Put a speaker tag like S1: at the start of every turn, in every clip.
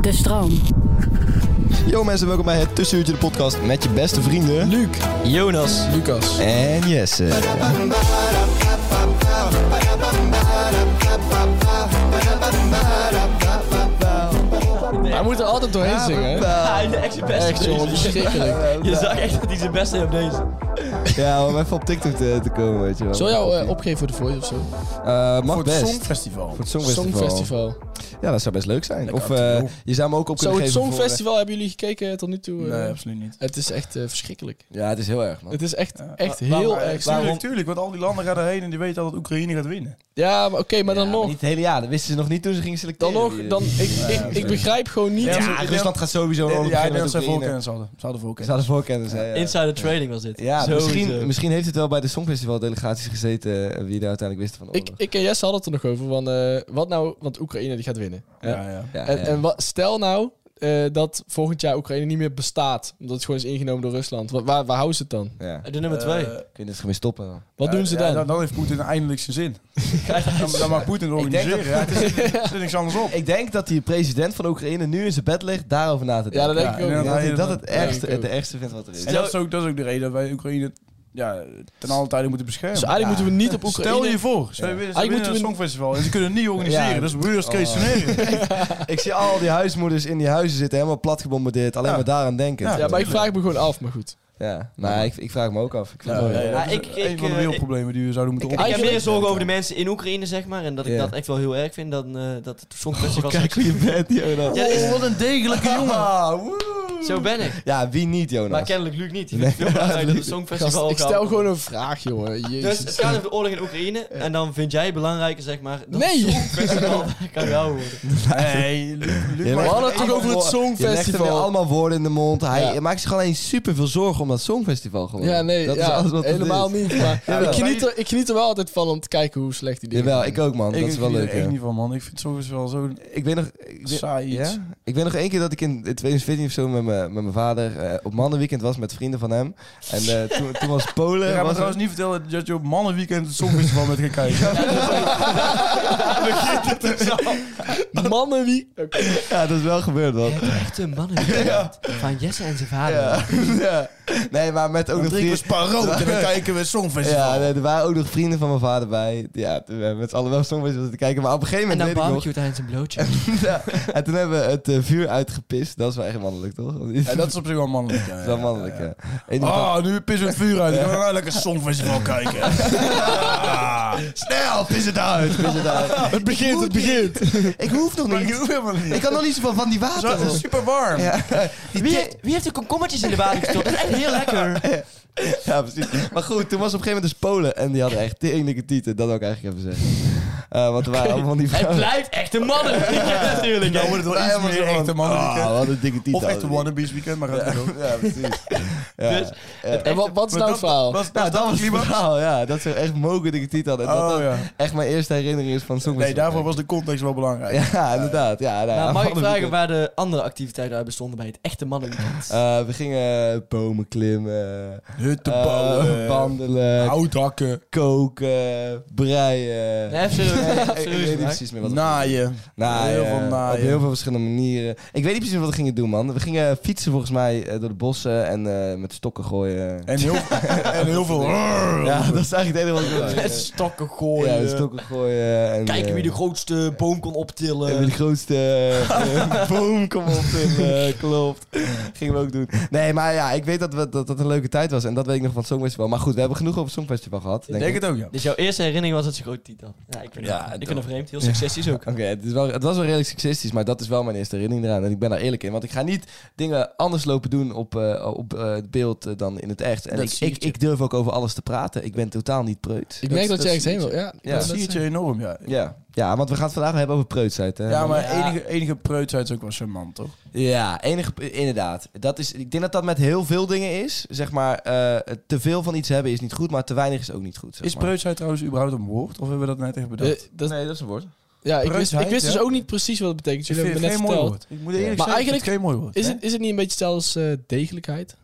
S1: De stroom.
S2: Yo mensen, welkom bij het Tussenuurtje de podcast met je beste vrienden... Luc, Jonas
S3: Lucas.
S2: en Jesse.
S3: Hij moet er altijd doorheen zingen. hè?
S4: Hij is echt zijn best
S3: Echt jongen, verschrikkelijk.
S4: Je zag echt dat hij zijn best deed op deze.
S2: Ja, om even op TikTok te, te komen, weet je wel.
S3: Zal jou eh, opgeven voor de Voice of zo?
S2: Eh, mag
S5: voor het
S2: best.
S5: Songfestival.
S2: Voor het Songfestival.
S3: Songfestival.
S2: Ja, dat zou best leuk zijn. of eh, je zou hem ook op
S3: Zo,
S2: kunnen
S3: het
S2: geven voor, eh,
S3: Songfestival hebben jullie gekeken tot nu toe? eh?
S5: Nee, absoluut niet.
S3: Het is echt eh, verschrikkelijk.
S2: eh, Ja, het is heel erg, man.
S3: Het is echt,
S5: Ja.
S3: echt
S5: Wa-
S3: heel
S5: waarom-
S3: erg.
S5: Tuurlijk, tuurlijk, want al die landen gaan erheen en die weten al dat Oekraïne gaat winnen.
S3: Ja, maar oké, maar dan
S2: Ja,
S3: nog.
S2: Niet het hele jaar, dat wisten ze nog niet toen ze gingen selecteren.
S3: Dan nog,
S2: Die-
S3: dan, ik, ik, ik begrijp gewoon niet.
S5: Ja.
S2: Ja, Rusland gaat sowieso een
S5: Ja,
S2: oorlog
S5: Oh, ja,
S2: beginnen
S5: ik denk dat
S2: met
S5: zij
S2: Oekraïne.
S5: voorkennis hadden. Ze hadden
S2: Ze
S5: voorkennis.
S2: hadden voorkennis, hè, ja.
S4: Insider trading was dit. eh,
S2: Ja, dus
S4: Sowieso.
S2: misschien, misschien heeft het wel bij de Songfestival-delegaties gezeten eh, wie daar uiteindelijk wisten van de
S3: Ik,
S2: oorlog.
S3: ik en Jesse hadden het er nog over. Van, eh, wat nou, want Oekraïne die gaat winnen. hè?
S5: Ja, ja.
S2: Ja,
S3: En,
S2: ja.
S3: en wat, stel nou eh, dat volgend jaar Oekraïne niet meer bestaat. Omdat het gewoon is ingenomen door Rusland. Wa- waar, waar houden ze het dan?
S2: Ja.
S4: De nummer twee.
S5: Eh,
S2: Kun je het gewoon stoppen dan?
S3: Wat doen ze
S5: ja,
S3: dan?
S5: dan? Dan heeft Poetin eindelijk zijn zin. Dan, dan mag Poetin het
S2: Ik denk
S5: organiseren. Ja, het is, er zit niks anders op.
S2: Ik denk dat die president van Oekraïne nu in zijn bed ligt daarover na te denken.
S3: Ja, dat denk ik
S5: Ja,
S3: ook.
S5: en
S2: Ik denk dat hij dat
S5: Ja,
S2: het ergste,
S3: ik ook.
S2: het ergste vindt wat er is.
S5: En dat is, ook, dat is ook de reden dat wij Oekraïne ja, ten alle tijde moeten beschermen.
S3: Dus eigenlijk moeten we niet op Oekraïne...
S5: Stel je voor, ze winnen- ze
S3: Eigenlijk
S5: winnen
S3: moeten
S5: een
S3: we-
S5: songfestival en ze kunnen het niet organiseren.
S2: Ja.
S5: Dat is worst case scenario.
S2: Ik zie al die huismoeders in die huizen zitten helemaal plat gebombardeerd. Alleen
S5: Ja.
S2: maar daaraan denken.
S5: Ja,
S3: Ja, maar ik vraag me gewoon af, maar goed.
S2: Ja. Nou, ik, ik vraag me ook af. Ik vind het wel-
S5: Ja, dat is
S4: ik- ik,
S5: een van de
S4: eh,
S5: wereldproblemen die we zouden moeten
S4: Ik heb
S5: oplossen.
S3: Eigenlijk-
S4: meer zorgen over de mensen in Oekraïne, zeg maar. En dat ik
S2: Ja.
S4: dat echt wel heel erg vind. Dan eh, dat het soms best wel
S2: Kijk hoe je bent, Jonas.
S4: Ja, is-
S5: Wat een degelijke jongen.
S2: Ah, woe.
S4: Zo ben ik.
S2: Ja, wie niet, Jonas?
S4: Maar kennelijk Luc niet. Die vindt het heel belangrijk dat het
S3: Gast,
S4: Songfestival
S3: ik
S4: gaat.
S3: stel gewoon een vraag, jongen.
S4: Dus het
S3: Jezus.
S4: gaat over de oorlog in Oekraïne. En dan vind jij het belangrijker, zeg maar. Dat
S3: Nee.
S4: Het Songfestival kan jou worden.
S5: Nee, Luc-
S2: Je
S5: Luc
S3: We
S2: legt
S5: maakt-
S3: hadden
S2: hem
S3: het toch
S2: allemaal
S3: over het
S2: woor- Je legt hem weer
S3: Songfestival.
S2: allemaal woorden in de mond. Hij
S3: Ja.
S2: hij maakt zich alleen super veel zorgen om dat Songfestival gewoon.
S3: Ja, nee,
S2: dat is
S3: ja,
S2: alles wat het
S3: helemaal
S2: is.
S3: niet. Maar
S2: Jawel.
S3: ik, geniet er, ik geniet er wel altijd van om te kijken hoe slecht die dingen
S2: Jawel,
S3: zijn.
S2: ik ook, man. dat is wel
S5: geniet
S2: leuk.
S5: er echt
S2: hè.
S5: niet van, man. Ik vind het wel zo
S2: Ik weet nog... Ik weet,
S5: saai iets.
S2: Ja? Ik weet nog één keer dat ik in 2014 of zo met mijn met mijn vader eh, op mannenweekend was met vrienden van hem. En eh, toen, toen was Polen...
S5: Ik ga me
S2: was
S5: trouwens niet vertellen dat je op mannenweekend het Songfestival met gaat kijken.
S3: Mannen wie... Oké.
S2: Ja, dat is wel gebeurd, man.
S4: Echt een mannen van Jesse en zijn vader.
S2: Ja. Nee, maar met ook nog vrienden...
S5: spaarrood en dan kijken we het Songfestival.
S2: Ja, nee, er waren ook nog vrienden van mijn vader bij. Ja, toen hebben we met z'n allen wel songfestival te kijken. Maar op een gegeven
S4: En
S2: moment
S4: dan
S2: weet ik nog...
S4: barbecue tijdens een blootje.
S2: Ja, en toen hebben we het eh, vuur uitgepist. Dat is wel echt mannelijk, toch?
S5: Ja, dat is op zich wel mannelijk. Ja,
S2: Dat is wel mannelijk, ja. In ieder geval-
S5: Ah, nu pissen we het vuur uit. Dan gaan we nou lekker Songfestival kijken. Ah, snel, pis het uit.
S2: Is het uit?
S5: Het begint, het begint.
S2: Ik hoef nog
S5: Maar ik
S2: niet.
S5: hoef helemaal niet.
S2: Ik kan nog niet zoveel van die
S5: Zo,
S2: water.
S5: het is super warm.
S2: Ja.
S4: Wie, heeft- wie heeft de komkommertjes in de water gestopt? Dat is echt heel lekker.
S2: Ja, precies. Maar goed, toen was op een gegeven moment dus Polen. En die hadden echt teringlijke tieten. Dat wil ik eigenlijk even zeggen. Eh, want er waren allemaal van die
S4: Het
S2: vrouwen.
S4: blijft echt een mannen. Ja, natuurlijk.
S5: Dan wordt het wel iets meer echt een mannenweekend.
S2: Ah, wat een dikke tieten.
S5: Of echt
S2: hadden
S5: een
S2: die.
S5: wannabes weekend, maar gaat het ook.
S2: Ja, precies. Ja.
S4: Dus-
S2: ja.
S3: En wat, wat is nou het verhaal?
S5: Dat,
S2: Nou, dat was het verhaal, ja. Dat ze echt mogen dikke tieten hadden. En dat
S5: Oh,
S2: dat
S5: ja.
S2: echt mijn eerste herinnering is van Songfestival.
S5: Nee, daarvoor was de context wel belangrijk.
S2: Ja, inderdaad. Ja, nou,
S4: Nou, mag ik
S2: mannen-
S4: vragen waar de andere activiteiten uit bestonden bij het echte mannenweekend?
S2: Eh, we gingen bomen klimmen,
S5: Hutten
S2: eh,
S5: bouwen,
S2: wandelen,
S5: hout hakken.
S2: koken, breien.
S4: Nee, even serieus.
S2: ik weet niet precies meer wat we-
S5: Naaien.
S2: Nou,
S5: Heel
S2: eh,
S5: veel naaien.
S2: Op heel veel verschillende manieren. Ik weet niet precies wat we gingen doen, man. We gingen fietsen volgens mij eh, door de bossen en eh, met stokken gooien.
S5: En heel, en heel veel...
S2: ja, dat is eigenlijk het enige wat ik wil
S4: Met
S2: zeggen.
S4: stokken
S2: eh, Ja,
S4: gooien.
S2: met stokken gooien. En,
S4: Kijken wie de
S2: eh,
S4: grootste boom
S2: en
S4: kon
S2: wie
S4: optillen.
S2: de grootste eh, boom komt op in. eh, klopt. Gingen we ook doen. Nee, maar ja, ik weet dat, we, dat dat een leuke tijd was. En dat weet ik nog van het Songfestival. Maar goed, we hebben genoeg over het Songfestival gehad.
S5: Ik
S2: Denk
S5: denk
S2: ik.
S5: het ook, ja.
S4: Dus jouw eerste herinnering was dat ze groot titel. Ja, ik vind,
S5: Ja,
S4: het, ik
S5: toch.
S4: vind het vreemd. Heel seksistisch ook.
S2: Oké, het, is wel- het was wel redelijk seksistisch, maar dat is wel mijn eerste herinnering eraan. En ik ben daar eerlijk in, want ik ga niet dingen anders lopen doen op, eh, op eh, het beeld eh, dan in het echt. En
S5: Dat
S2: ik,
S5: zie
S2: ik,
S5: je.
S2: ik durf ook over alles te praten. Ik ben totaal niet preut.
S3: Ik merk dat, je
S5: dat
S3: ergens
S5: zie
S3: heen wil. Ja,
S2: Ja,
S5: Dat
S3: zie
S5: zie je enorm, ja.
S2: Ja. ja, want we gaan het vandaag hebben over preutsheid. Hè?
S5: Ja, maar
S4: Ja.
S5: enige, enige preutsheid is ook wel charmant, toch?
S2: Ja, enige, inderdaad. Dat is, ik denk dat dat met heel veel dingen is. Zeg maar, eh, te veel van iets hebben is niet goed, maar te weinig is ook niet goed. Zeg
S5: Is
S2: maar.
S5: preutsheid trouwens überhaupt een woord? Of hebben we dat net echt
S3: Eh,
S5: bedacht?
S2: Nee, dat is een woord.
S3: Ja, ik wist,
S5: Preutsheid,
S3: ik wist
S5: ja.
S3: dus ook niet precies wat het betekent. Jullie
S5: Ik vind
S3: hebben
S5: het
S3: me
S5: geen
S3: net
S5: mooi
S3: verteld.
S5: woord. Ik moet eerlijk
S3: Maar
S5: zeggen, ik
S3: eigenlijk-
S5: vind het geen mooi woord.
S3: Is het, is het niet een beetje zelfs eh degelijkheid?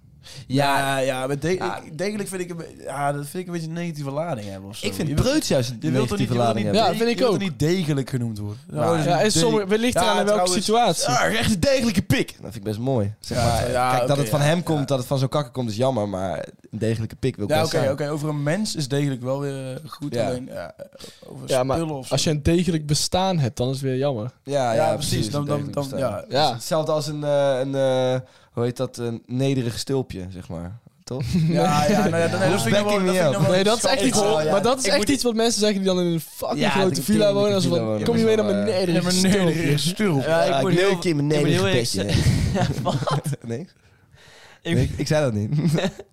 S5: Ja, ja, maar de-
S2: Ja.
S5: ik- degelijk vind ik een, be- ja, dat vind ik een beetje een negatieve lading hebben of zo.
S2: Ik
S5: Je
S2: vind
S5: wilt-
S2: preuts juist een
S5: je wilt toch niet,
S2: negatieve
S5: je wilt
S2: lading
S5: niet,
S2: hebben.
S3: Ja, vind
S5: degelijk-
S3: ik
S5: je wilt
S3: ook.
S5: toch niet degelijk genommend worden.
S2: Ja.
S5: Nou, dat is
S3: Ja,
S5: een
S3: en sommige,
S5: degelijk-
S3: wellicht eraan
S5: Ja,
S3: in welke
S5: trouwens-
S3: situatie.
S2: Ja, echt een degelijke pik. Dat vind ik best mooi. Zeg
S5: Ja,
S2: maar,
S5: ja,
S2: kijk, dat
S5: Ah, oké,
S2: het van
S5: ja,
S2: hem
S5: ja.
S2: komt, dat het van zo'n kakker komt, is jammer. Maar een degelijke pik wil ik
S5: Ja,
S2: best
S5: oké,
S2: zijn.
S5: oké. Over een mens is degelijk wel weer eh, goed.
S2: Ja.
S5: Alleen ja, eh, over
S3: Ja, maar
S5: spullen of zo.
S3: Als je een degelijk bestaan hebt, dan is het weer jammer.
S2: Ja,
S5: ja, precies. Dan, dan,
S2: degelijk
S5: dan,
S2: bestaan.
S5: ja.
S3: Ja,
S2: Hetzelfde als een, eh, een eh, hoe heet dat, een nederig stulpje, zeg maar. Toch?
S5: Ja, ja, nou ja, dat- nee, dat vind ik
S2: Backing
S5: wel-
S2: me
S5: dat vind ik
S2: up.
S5: nou wel
S3: Nee, dat is echt niet
S5: schattig.
S2: Oh, ja,
S3: Maar dat is
S2: ik
S3: echt
S2: moet-
S3: iets wat mensen zeggen die dan in een fucking
S2: Ja,
S3: grote
S2: die
S3: villa
S2: tering-
S3: wonen. Als
S2: die villa
S3: van,
S2: wonen.
S3: kom je mee naar
S2: Ja,
S3: beneden?
S5: Ja,
S3: in
S5: maar
S3: een
S5: nee,
S3: stulpje.
S5: er is stuur.
S4: Ja, ik moet heel...
S2: neuk je in mijn
S4: ik moet
S2: nederig
S4: heel erg
S2: bedje. Nee?
S4: Ik,
S2: Nee, ik zei dat niet.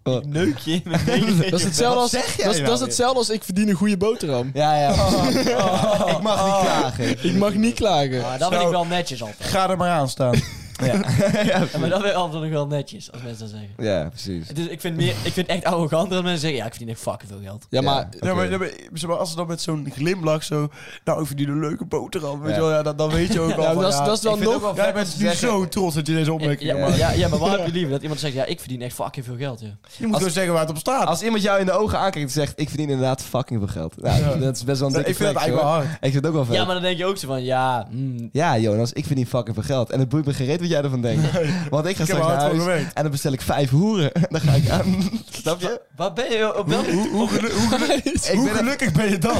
S4: ik neuk je in mijn benen.
S3: Dat is hetzelfde als,
S2: zeg jij
S3: dat is,
S2: nou
S3: dat is hetzelfde als ik verdien een goede boterham.
S2: Ja, ja. ik mag
S5: Oh. Ah.
S2: niet klagen.
S3: Ik mag niet klagen.
S2: Ah,
S4: Maar dat vind ik wel netjes altijd.
S5: Ga er maar aan staan.
S4: Ja, maar dat vind ik altijd nog wel netjes, als mensen dat zeggen.
S2: Ja, precies.
S4: Het is, ik, vind meer, ik vind het echt arrogant dat mensen zeggen, ja, ik verdien echt fucking veel geld.
S3: Ja, maar
S5: Ja, maar, ja, maar, zeg maar, als ze dan met zo'n glimlach zo... Nou, ik verdien een leuke boterham. Weet
S2: Ja.
S5: je wel, ja, dan, dan weet je ook al
S3: ja,
S5: van,
S3: dat, is,
S5: ja,
S3: dat is dan
S2: ik vind het
S3: nog...
S2: ook wel
S5: Jij
S2: vet om
S5: bent
S2: te
S5: nu
S2: zeggen.
S5: zo trots dat je deze opmerking
S4: Ja,
S5: maakt.
S4: maar, ja, ja, maar waar heb je liever? Dat iemand zegt, ja, ik verdien echt fucking veel geld, ja.
S5: Je moet
S2: Als-
S5: gewoon zeggen waar het op staat.
S2: Als iemand jou in de ogen aankijkt en zegt, ik verdien inderdaad fucking veel geld. Nou,
S5: Ja.
S2: dat is best wel een
S5: ik
S2: dikke
S5: vind dat
S2: flex,
S5: eigenlijk wel
S2: hoor.
S5: hard.
S2: Ik vind het ook wel vet.
S4: Ja, maar dan denk je ook zo van, ja, mm,
S2: Ja, Jonas, ik verdien fucking veel geld. En het boeit me geen reet wat jij ervan denkt. Want ik ga
S5: Ik heb er
S2: straks naar
S5: hard voor
S2: huis
S5: gewerkt.
S2: en dan bestel ik vijf hoeren. En dan ga ik aan. Snap je?
S4: waar ben je op welke...
S5: Hoe, hoe, gelu- hoe, gelu-
S2: Ik
S5: hoe
S2: ben een-
S5: gelukkig ben je dan?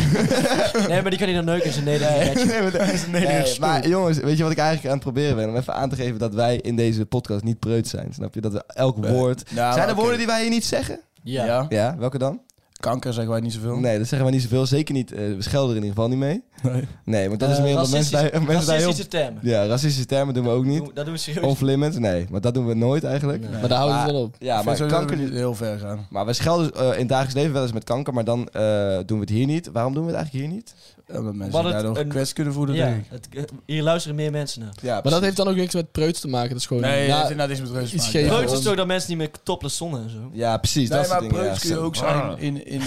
S4: Nee, maar die kan niet dan neuken in zijn nederige bedje.
S2: Nee, maar,
S5: nee,
S2: Nee,
S5: dat is
S2: maar jongens, weet je wat ik eigenlijk aan het proberen ben? Om even aan te geven dat wij in deze podcast niet preut zijn. Snap je? Dat we elk
S4: Eh,
S2: woord...
S5: nou,
S2: zijn er
S5: oké.
S2: woorden die wij hier niet zeggen?
S4: Ja.
S2: Ja, welke dan?
S5: Kanker zeggen wij niet zoveel.
S2: Nee, dat zeggen wij niet zoveel. Zeker niet. eh, we schelden er in ieder geval niet mee.
S5: Nee.
S2: Nee, want dat is
S4: Eh,
S2: meer omdat mensen
S4: racistische-
S2: daar, mensen daar heel...
S4: Racistische termen.
S2: Ja, racistische termen doen we ook niet.
S4: Doe- Dat doen we serieus.
S2: Off limits, nee. Maar dat doen we nooit eigenlijk.
S3: Maar daar houden we het wel op.
S2: Ja, maar
S5: kanker
S2: kanker...
S5: niet heel ver gaan.
S2: Maar we schelden eh, in het dagelijks leven wel eens met kanker, maar dan eh, doen we het hier niet. Waarom doen we het eigenlijk hier niet?
S5: Omdat mensen
S4: Wat het
S5: daardoor
S4: een-
S5: gekwetst kunnen voelen,
S4: Ja,
S5: denk ik.
S4: het, eh, hier luisteren meer mensen naar.
S2: Ja,
S3: Maar dat heeft dan ook niks met preuts te maken. Dat is gewoon... ja,
S5: Nee, dat is inderdaad iets met reuze
S3: iets
S5: te
S3: geven.
S5: maken.
S4: Preuts is
S3: om-
S4: toch dat mensen niet meer topless zonnen en zo.
S2: Ja, precies. dat
S5: Nee, maar
S2: soort dingen,
S5: preuts
S2: ja,
S5: kun je
S2: zo.
S5: ook
S3: Ah.
S5: zijn in... in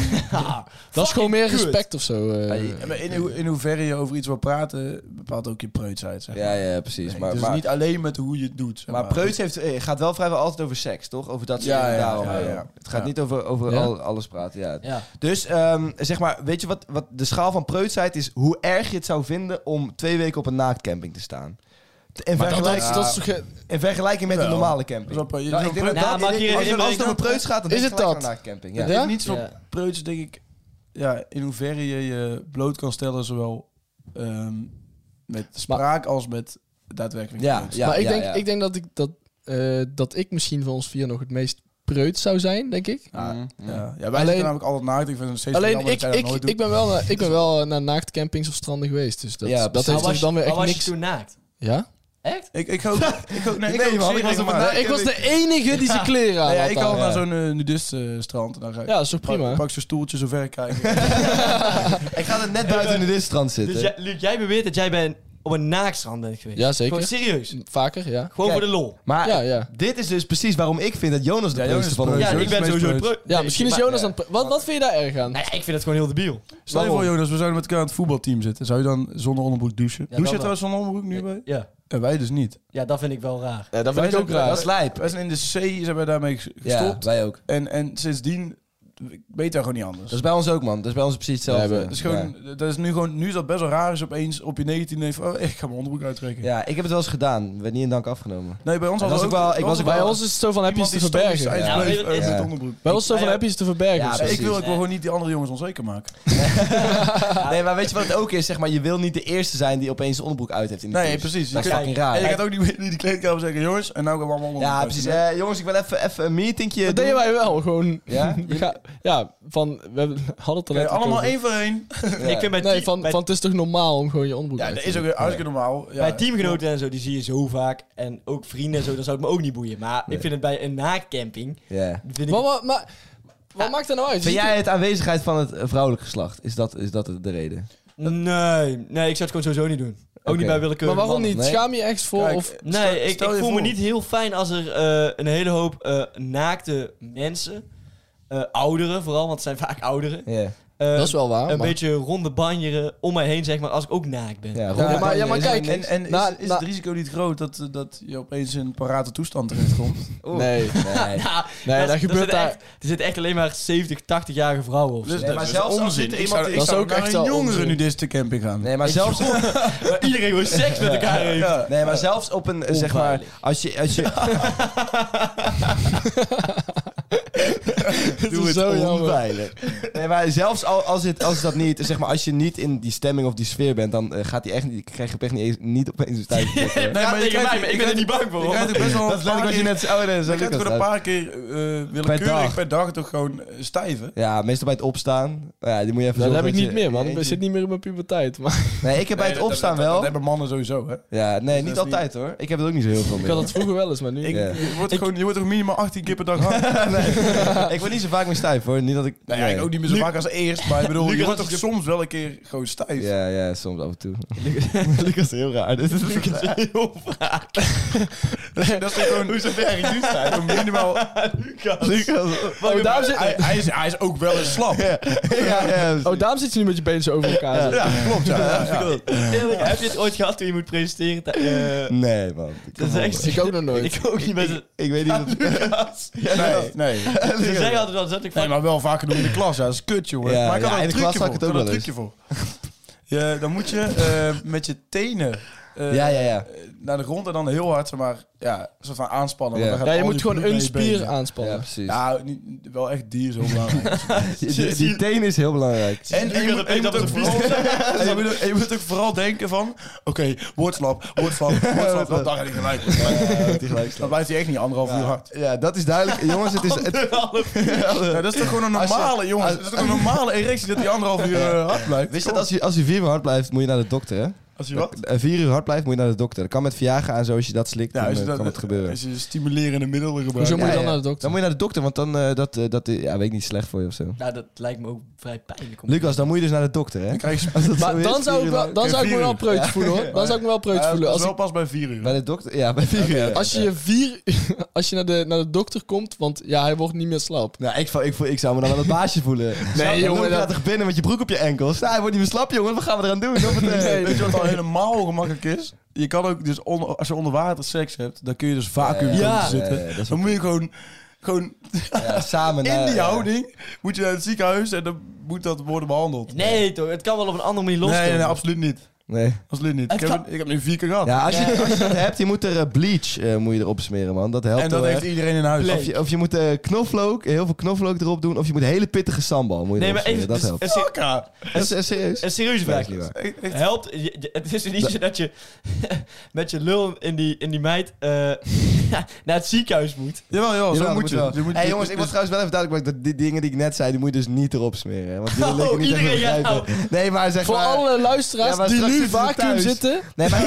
S3: dat is gewoon meer
S5: kut.
S3: respect of zo. eh.
S2: Ja,
S5: Ja, maar in, hoe- in hoeverre je over iets wil praten, bepaalt ook je preutsheid. Zeg maar.
S2: Ja, ja, precies.
S5: Nee,
S2: maar,
S5: dus
S2: maar,
S5: niet alleen met hoe je het doet. zeg
S2: maar preuts heeft, eh, gaat wel vrijwel altijd over seks, toch? Over dat soort
S5: Ja,
S2: dingen.
S5: ja,
S2: daarom,
S5: ja,
S2: eh,
S5: ja.
S2: Het gaat
S5: Ja.
S2: niet over, over
S3: Ja?
S2: al- alles praten. Ja.
S4: Ja.
S2: Dus ehm, zeg maar, weet je wat, wat de schaal van preutsheid is? Hoe erg je het zou vinden om twee weken op een naaktcamping te staan. In,
S3: Maar dat, dat,
S2: vergelijking-
S3: is- dat is toch geen-
S2: in vergelijking met een
S5: Wel.
S2: normale
S5: Dat
S2: camping.
S5: is wel preu-
S2: Nou,
S5: dat
S2: ik
S5: is
S2: denk
S5: wel
S2: dat
S4: Nou,
S2: dat- ik-
S4: maar hier
S2: als
S4: in
S2: je- als het
S4: Amerika-
S2: over preuts gaat, dan
S3: Is
S2: denk
S3: het
S2: je gelijk
S3: dat?
S2: aan een naaktcamping. Ja.
S3: Ja?
S5: preu- Het is niet zo
S4: Ja.
S5: preuts, denk ik. Ja, in hoeverre je je bloot kan stellen, zowel ehm, met spraak als met daadwerkelijk.
S2: Ja,
S5: preuts.
S2: ja.
S3: maar ik denk, ik denk dat, ik, dat, eh, dat ik misschien van ons vier nog het meest preuts zou zijn, denk ik.
S5: Ja, ja. ja. wij zitten
S3: Alleen-
S5: namelijk altijd naakt. Ik vind het steeds
S3: Alleen
S5: jammer dat
S3: ik,
S5: jij dat
S3: ik,
S5: nooit
S3: ik
S5: doet.
S3: ben wel, naar- ik ben wel eh, naar naaktcampings of stranden geweest. Dus dat,
S2: Ja,
S3: dat
S2: precies.
S3: heeft
S4: Maar
S3: dus
S4: was,
S3: dan weer
S4: je- maar
S3: echt
S4: was je
S3: niks.
S4: toen naakt?
S3: Ja? Nou,
S4: Echt?
S5: Ik, ik, ook, ik ook, nee, ik
S2: Nee,
S5: ook
S2: man,
S5: zeer
S2: ik was op een
S5: regelmatig.
S3: ik was de enige die zijn kleren aan
S5: Ja,
S3: had.
S5: ik
S3: daar.
S5: al
S3: ja.
S5: naar zo'n eh, nudist eh, strand. En dan ga ik,
S3: dat is toch
S5: pak-
S3: prima?
S5: Pak zo'n stoeltje zo ver kijken.
S2: Ik ga er net buiten in de strand zitten.
S4: Dus jij, Luc, jij beweert dat jij bij een, op een naaktstrand bent geweest.
S3: Ja, zeker.
S4: Gewoon serieus. Gewoon
S3: Vaker, ja.
S4: voor
S2: Kijk.
S4: de lol.
S2: Maar
S3: Ja, ja.
S2: dit is dus precies waarom ik vind dat Jonas de
S5: Ja,
S2: preutste
S5: Jonas
S2: van
S5: is
S2: ons
S4: Ja,
S5: preut.
S2: is.
S4: ik ben
S5: meest
S4: sowieso
S5: preuts.
S4: preu.
S3: Ja,
S4: Nee,
S3: misschien is
S4: maar-
S3: Jonas aan het... pre- Wat, wat vind je daar erg aan?
S4: Nee, ik vind het gewoon heel debiel.
S5: Stel je
S3: Waarom?
S5: voor, Jonas, we zouden met elkaar aan het voetbalteam zitten. Zou je dan zonder onderbroek douchen?
S4: Ja,
S5: Douche je
S4: dat wel.
S5: trouwens zonder onderbroek nu bij?
S4: Ja.
S5: En wij dus niet.
S4: ja, dat vind ik wel raar.
S2: Ja, dat vind
S5: Wij
S2: ik
S5: zijn-
S2: ook raar.
S5: dat
S2: Dat
S5: is
S2: is lijp.
S5: Wij zijn in de C, zijn wij daarmee ges-
S2: Ja,
S5: gestopt.
S2: wij ook.
S5: En, en sindsdien Ik weet daar gewoon niet anders.
S2: Dat is bij ons ook, man. Dat is bij ons precies hetzelfde.
S3: We hebben-
S5: Dat is, gewoon, dat is nu gewoon, nu is dat best wel raar is opeens op je 19 denk je van, oh, ik ga mijn onderbroek uittrekken.
S2: Ja, ik heb het wel eens gedaan. We niet in dank afgenomen.
S5: Nee, bij ons
S2: Dat
S5: hadden
S2: was
S5: we
S2: ook wel- ik was ook
S5: bij
S3: Bij
S2: wel-
S5: ons
S3: ons is het zo van heb je iets te verbergen.
S2: Ja.
S4: Ja,
S5: Ja,
S4: weet je-
S5: eh, met
S2: Ja.
S5: onderbroek.
S3: Bij ons is het zo van
S4: Ja,
S3: heb je iets te verbergen.
S2: Ja,
S3: of zo.
S5: Ja, ik
S2: precies.
S5: wil ik wil gewoon niet die andere jongens onzeker maken.
S2: Nee, maar weet je wat het ook is? Zeg maar, je wil niet de eerste zijn die opeens zijn onderbroek uit heeft in de
S5: Nee,
S2: fles.
S5: precies. Je
S2: Dat is
S5: kunt-
S2: fucking raar.
S5: En je gaat ook niet meer in die kleedkamer zeggen, jongens, en nou gaan we allemaal onderbroek
S2: Ja,
S5: uit.
S2: precies.
S5: Ja.
S2: Eh, jongens, ik wil even even een meetingje
S3: Dat deden
S2: doen.
S3: wij wel, gewoon.
S2: Ja?
S3: We gaan- ja, van, we hebben- hadden het er
S5: Oké,
S3: net
S5: allemaal
S3: over.
S5: één voor één.
S2: Ja.
S4: Ik vind bij,
S3: Nee,
S4: team-
S3: van,
S4: bij,
S3: van het is toch normaal om gewoon je onderbroek
S5: Ja,
S3: uit
S5: dat
S3: te
S5: is ook weer hartstikke normaal. Ja.
S4: bij teamgenoten en zo, die zie je zo vaak. En ook vrienden en zo, dan zou het me ook niet boeien. Maar
S2: Nee.
S4: ik vind het bij een naakcamping...
S2: Ja.
S4: Vind ik,
S3: doen. Maar, maar, maar wat maakt dat nou uit?
S2: Vind jij het aanwezigheid van het eh, vrouwelijk geslacht? Is dat, is dat de reden?
S4: nee, nee, ik zou het gewoon sowieso niet doen. Ook
S2: Oké.
S4: niet bij willekeurige
S3: maar waarom
S4: mannen.
S3: niet?
S2: Nee.
S3: Schaam je je echt voor?
S5: Kijk,
S3: of,
S4: Nee, ik,
S5: stel
S4: ik
S5: je
S4: voel me
S5: voor.
S4: niet heel fijn als er eh, een hele hoop eh, naakte mensen, eh, ouderen vooral, want het zijn vaak ouderen,
S2: Ja.
S4: eh,
S3: dat is wel waar.
S4: een
S3: maar-
S4: beetje ronde banjeren om mij heen, zeg maar, als ik ook naakt ben.
S2: Ja,
S3: Ja, maar- ja, maar
S2: is-
S3: kijk,
S5: En, en is,
S3: Nou,
S5: is het
S3: nou-
S5: risico niet groot dat, eh, dat je opeens in een parate toestand terechtkomt?
S2: Oeh.
S3: Nee.
S2: Nee.
S4: Ja,
S3: Nee, dat gebeurt
S4: zitten
S3: daar-
S4: echt- er zitten echt alleen maar 70, 80-jarige vrouwen of zo.
S2: Nee, maar
S5: is
S2: zelfs als
S5: onzin.
S2: dit
S5: Ik
S2: iemand
S5: zou, ik
S3: is- Dat
S5: zou
S3: is ook
S5: naar
S3: echt
S5: een
S3: wel
S5: jongere
S3: onzin.
S5: nu deze camping gaan.
S2: Nee, maar zelfs,
S4: Waar iedereen gewoon seks met elkaar heeft.
S5: Ja.
S2: nee, maar zelfs op een, eh, zeg maar, als je, als je,
S3: Het is zo jammer.
S2: onveilig. Nee, maar zelfs al, als, het, als dat niet, zeg maar, als je niet in die stemming of die sfeer bent, dan eh, gaat die echt niet, krijg je echt niet, eens- niet opeens een tijd.
S4: Ja, tegen mij, maar ik ben er niet bang voor,
S5: Je
S4: hoor.
S5: krijgt ook best wel
S2: Dat is
S5: een
S2: letterlijk
S5: paar
S2: wat je
S5: keer-
S2: net zei. Oh, nee, dat
S5: je
S2: is
S5: krijgt
S2: ook
S5: gewoon een paar keer eh willekeurig
S2: dag.
S5: per dag toch gewoon eh, stijven.
S2: Ja, meestal bij het opstaan. Nou Ja, die moet je even
S3: Dat
S2: zorgen
S3: heb ik
S2: je-
S3: niet meer, man.
S2: je
S3: Ik
S2: eentje-
S3: zit niet meer in mijn puberteit. Maar
S2: Nee, ik heb bij
S5: Nee,
S2: het
S5: dat-
S2: opstaan
S5: dat- dat-
S2: wel.
S5: Dat hebben mannen sowieso, hè?
S2: Ja, nee, niet
S5: is niet-
S2: altijd hoor. Ik heb het ook niet zo heel veel
S3: ik
S2: meer.
S3: had het vroeger wel eens, maar nu...
S5: Ik,
S2: Ja.
S5: je, wordt gewoon, je wordt toch minimaal 18 keer per dag hard? nee,
S2: ik word niet zo vaak meer stijf hoor. Niet dat ik.
S5: Nou ja, ik ook niet meer zo
S4: Nu-
S5: vaak als eerst, maar ik bedoel,
S4: Lucas,
S5: je wordt
S4: als
S5: toch
S4: je-
S5: soms wel een keer gewoon stijf.
S2: Ja, ja, soms af en toe. Lucas is heel raar. Dit is
S4: Heel vaak.
S5: Dat is toch gewoon... Hoe zijn werk nu staat? Minimaal...
S4: Lucas.
S3: Oh, daarom zit-
S5: Hij, hij, is, hij is ook wel eens slap. Ja,
S2: ja, ja,
S3: Oh, daarom zit je nu met je benen zo over elkaar. zo.
S5: klopt, ja. ja, ja.
S4: Eerlijk, heb je het ooit gehad toen je moet presenteren? Tha- eh,
S2: Nee, man.
S4: dat is echt...
S3: Ik ook nog nooit.
S4: Ik ook niet met het...
S2: Ik weet niet. of-
S4: Lucas.
S5: Nee, nee.
S4: Ze zeggen altijd wel, zet ik
S5: Nee,
S4: van...
S5: maar wel vaker doen in de klas. Ja, dat is kut, jongen.
S2: Ja,
S5: maar ik had
S2: ja,
S5: er
S2: in
S5: een
S2: de klas
S5: trucje
S2: zag
S5: voor.
S2: ik het ook
S5: Ik had er
S2: wel
S5: een trucje voor. Ja, dan moet je eh, met je tenen eh,
S2: Ja, ja, ja.
S5: eh, naar de grond en dan heel hard, zeg maar, ja, een soort van aanspannen.
S2: Ja.
S5: want dan
S3: Ja,
S5: gaat
S3: je
S5: al
S3: moet
S5: die
S3: gewoon
S5: bloed
S3: een
S5: naar je
S3: spier
S5: benen.
S2: Ja,
S3: aanspannen.
S2: precies.
S5: Ja, niet, wel echt dier is heel belangrijk.
S2: Die- die, die teen is heel belangrijk.
S5: En, en je, moet, en je moet ook vooral, en je moet ook- en je moet ook vooral denken van... Oké, woordslap, woordslap, woordslap. want Dan gaat hij gelijk. Dan blijft hij echt niet anderhalf uur hard.
S2: Ja, dat is duidelijk. Jongens, het is... Het,
S5: Ja, dat is toch gewoon een
S2: Als je-
S5: normale, jongens. Dat is toch een normale erectie dat hij anderhalf uur eh, hard blijft.
S2: wist je dat als je, als je vier uur hard blijft, moet je naar de dokter, hè?
S5: Als je wat?
S2: Eh, Vier uur hard blijft, moet je naar de dokter. Dat kan met Viagra en zo, als je dat slikt,
S5: Ja,
S2: dan
S5: als je
S2: eh,
S5: dat,
S2: kan het gebeuren.
S5: Als je stimulerende middelen gebruikt.
S3: Hoezo moet je
S2: Ja,
S3: dan
S2: ja.
S3: naar de dokter?
S2: Dan moet je naar de dokter, want dan eh dat, eh, dat, eh, ja, weet ik niet, slecht voor je of zo.
S4: Nou, dat lijkt me ook vrij pijnlijk. om-
S2: Lucas, dan moet je dus naar de dokter, hè?
S5: Dan krijg je
S2: Als dat zo
S3: Maar
S2: is,
S3: dan
S2: vier
S3: zou
S2: uur
S3: ik, wel,
S2: lang-
S3: dan zou ik me wel
S5: Ja,
S3: preut voelen, hoor. Dan zou ik me wel preut
S5: Ja,
S3: voelen.
S5: dat is
S3: Als,
S5: wel pas bij vier uur.
S2: Bij de dokter? Ja, bij vier uur.
S3: ik- als je je vier... Als je naar de, naar de dokter komt, want ja, hij wordt niet meer slap.
S2: Nou, ik, vo- ik, voel, ik zou me dan wel een baasje voelen. Zou-
S3: jongen,
S2: Loop je
S3: dat-
S2: daar toch binnen met je broek op je enkels? Nou, hij wordt niet meer slap, jongen. Wat gaan we eraan doen? Of het, eh,
S5: Nee, weet je wat al helemaal ongemakkelijk is? Je kan ook dus onder, als je onder water seks hebt, dan kun je dus vacuüm
S2: Ja.
S5: komen
S4: Ja.
S5: te zitten.
S2: Ja, ja, dat is
S5: dan moet je gewoon, gewoon
S2: ja, samen
S5: in
S2: naar- eh,
S5: die
S2: Nou, ja.
S5: houding moet je naar het ziekenhuis en dan moet dat worden behandeld.
S4: Nee, toch? Het kan wel op een andere manier
S5: nee,
S4: loskomen.
S5: nee, nee, absoluut niet.
S2: Nee.
S5: Absoluut niet. Ik
S4: Het
S5: heb,
S4: kan-
S5: het- ik heb nu vier keer gehad.
S2: Ja, als je, als je dat hebt, je moet er eh, bleach eh, moet je erop smeren, man. Dat eh, helpt
S5: en dat
S2: wel
S5: heeft
S2: echt.
S5: iedereen in huis.
S2: Of je, of je moet eh, knoflook, heel veel knoflook erop doen. Of je moet hele pittige sambal moet je
S4: Nee,
S2: erop
S4: maar
S2: smeren.
S4: even...
S2: dat
S4: dus-
S2: helpt.
S4: een se-
S5: Akka.
S2: Dat is eh, serieus.
S4: Een serieuze
S2: Nee,
S4: vraag.
S2: is niet waar.
S5: Echt- echt.
S4: Helpt, je- je- het is niet zo dat je met je lul in die, in die meid eh, naar het ziekenhuis moet.
S5: Jawel, jawel,
S2: Jawel,
S5: zo
S2: dat
S5: moet je.
S2: wel.
S5: Je moet-
S2: hey, jongens, ik was trouwens wel even duidelijk dat die dingen die ik net zei, die moet je dus niet erop smeren. hè, Want die wil ik
S4: Oh,
S2: niet echt
S4: iedereen, ja,
S2: begrijpen. Nee, maar zeg
S3: Voor
S2: maar...
S3: alle
S2: Ja,
S3: luisteraars
S2: maar
S3: die
S2: straks zitten
S3: nu
S2: ze
S3: vacuüm
S2: thuis.
S3: zitten...
S2: Nee, maar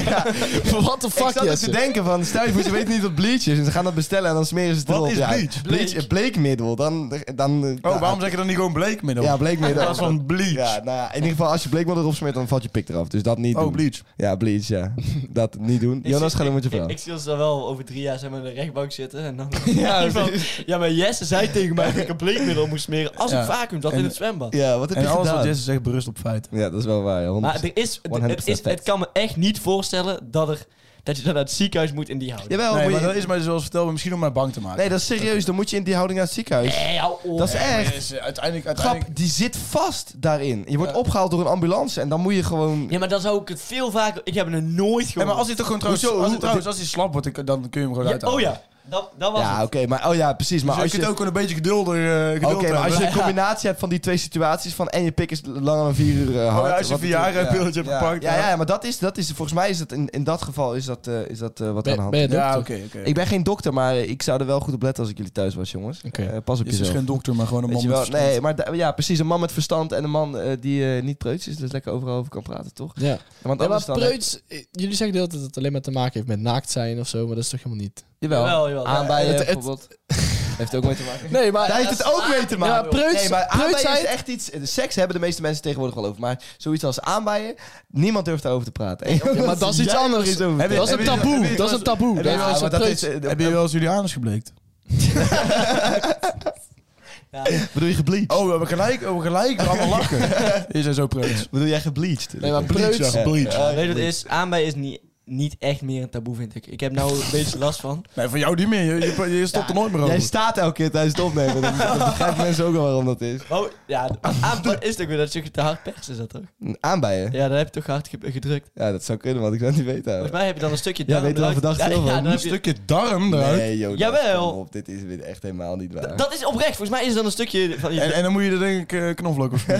S3: What the
S2: ik
S3: fuck,
S2: zat er te
S3: Jesse?
S2: denken van, stel je voor, ze weten niet wat bleach is. En ze gaan dat bestellen en dan smeren ze het
S5: Wat
S2: erop.
S5: is
S2: ja.
S5: bleach?
S2: Bleach, een bleekmiddel. Dan, dan, eh,
S5: Oh,
S2: nou,
S5: waarom zeg je dan niet gewoon bleekmiddel?
S2: Ja, bleekmiddel.
S5: In plaats van bleach.
S2: Ja, nou ja, in ieder geval, als je bleekmiddel erop smeert, dan valt je pik eraf. Dus dat niet
S5: oh,
S2: doen.
S5: bleach.
S2: Ja, bleach, ja. Dat niet doen. Jonas, ga
S4: gaat
S2: doen met je
S4: Ik,
S2: vrouw.
S4: ik zie ons dan wel over drie jaar zeg maar, in de rechtbank zitten. En dan
S2: Ja,
S4: ja, van, ja, maar Jesse zei tegen mij dat ik een bleekmiddel moest smeren als
S5: Ja.
S4: een vacuüm dat
S5: En-
S4: in het zwembad.
S2: Ja, wat heb
S5: En
S2: je
S5: alles wat
S2: gedaan?
S5: Jesse zegt berust op feiten.
S2: Ja, dat is wel waar. ja, 100%.
S4: Maar er is, het,
S2: 100%
S4: is, het
S2: fact.
S4: kan me echt niet voorstellen dat er dat je dan naar het ziekenhuis moet in die houding.
S2: Jawel,
S5: Nee,
S2: moet
S5: maar
S2: je-
S5: dat is mij zoals verteld, maar misschien om mij bang te maken.
S2: nee, dat is serieus. Dan moet je in die houding naar het ziekenhuis.
S4: Nee, hou op.
S2: Dat is
S5: Ja, maar
S2: echt.
S5: dit is, eh, uiteindelijk, uiteindelijk...
S2: Grap, die zit vast daarin. Je wordt
S5: Ja.
S2: opgehaald door een ambulance en dan moet je gewoon...
S4: Ja, maar dan zou ik het veel vaker... Ik heb het nooit
S5: Ja,
S4: gehoord.
S5: maar als hij toch gewoon trouwens,
S2: Hoezo?
S5: als, hij
S2: Hoe-
S5: trouwens, als hij slap wordt, dan- dan kun je hem gewoon
S4: Ja,
S5: uithalen.
S4: oh ja, dat, dat was
S2: Ja, oké,
S4: het.
S2: maar oh ja, precies. Maar
S5: Maar dus
S2: als
S5: je
S2: je,
S5: kunt ook een beetje geduld, eh geduld
S2: oké, maar als je
S5: hebben.
S2: een combinatie hebt van die twee situaties van en je pik is langer dan vier uur eh, hard.
S5: Oh ja, als je
S2: wat
S5: vier
S2: het-
S5: jaar een pilletje hebt Ja. gepakt.
S2: Ja, ja, ja, maar dat is, dat is volgens mij is dat in, in dat geval is dat, eh, is dat eh, wat aan de
S3: Ben,
S2: hand.
S3: ben je dokter?
S5: Ja, oké, oké.
S2: Ik ben geen dokter, maar eh, ik zou er wel goed op letten als ik jullie thuis was, jongens.
S3: Oké.
S2: Eh, pas op
S5: Is dus
S2: jezelf.
S5: geen dokter, maar gewoon een
S2: Weet
S5: man
S2: je
S5: met
S2: wel?
S5: verstand.
S2: Nee, maar da- ja, precies. Een man met verstand en een man eh, die eh, niet preuts is. Dus lekker overal over kan praten, toch?
S3: Ja.
S2: Want
S3: Ja,
S2: anders
S3: maar
S2: dan...
S3: preuts, eh, jullie zeggen de hele tijd dat het alleen maar te maken heeft met naakt zijn of zo, maar dat is toch helemaal niet.
S2: eh, Jawel.
S4: Jawel, jawel.
S2: Aanbijen
S3: Het- het-
S2: bijvoorbeeld. Heeft er ook mee te maken.
S3: Nee, maar
S2: Daar heeft het ook mee te maken.
S3: Ja, preuts-
S2: nee, maar aanbijen
S3: preuts
S2: is
S3: zijn-
S2: echt iets... de Seks hebben de meeste mensen tegenwoordig wel over. Maar zoiets als aanbijen, niemand durft daarover te praten.
S3: Ja, maar dat is iets
S2: Jij
S3: anders.
S2: er iets over
S5: Heb je-
S3: dat is
S5: heb
S3: een
S5: je- heb
S3: taboe.
S5: je-
S3: Dat is een taboe.
S2: Ja,
S3: Dat is
S2: maar
S3: een
S2: dat
S3: preuts.
S2: is... eh,
S5: Hebben jullie wel eens jullie anus gebleekt?
S2: Bedoel je gebleached?
S5: Oh, we hebben gelijk, we hebben gelijk allemaal lachen. Is hij zo Eh, preuts?
S2: Bedoel jij gebleached?
S3: Nee, maar preuts.
S4: Ja, weet je wat het is? Aanbij is niet, niet echt meer een taboe, vind ik. Ik heb nou een beetje last van.
S5: Nee, voor jou niet meer. Je, je, je stopt er nooit meer over.
S2: Jij staat elke keer tijdens het opnemen. Dan dan begrijpen mensen ook wel waarom dat is.
S4: Oh, ja, aanbij is toch weer dat je te hard pers is dat toch?
S2: Aanbijen?
S4: Ja, dan heb je toch hard ge- gedrukt.
S2: Ja, dat zou kunnen, want ik zou het niet weten. ouwe.
S4: Volgens mij heb je dan een stukje...
S2: Ja,
S4: darm
S2: weet je wel
S4: eruit-
S2: verdacht veel van.
S4: dan
S5: Een
S4: heb je-
S5: stukje darm eruit.
S2: Nee, joh.
S4: Jawel.
S2: kom Op, dit is weer echt helemaal niet waar.
S4: Dat is oprecht. Volgens mij is het dan een stukje van je...
S5: En, en dan moet je er denk ik eh, knoflook of zo.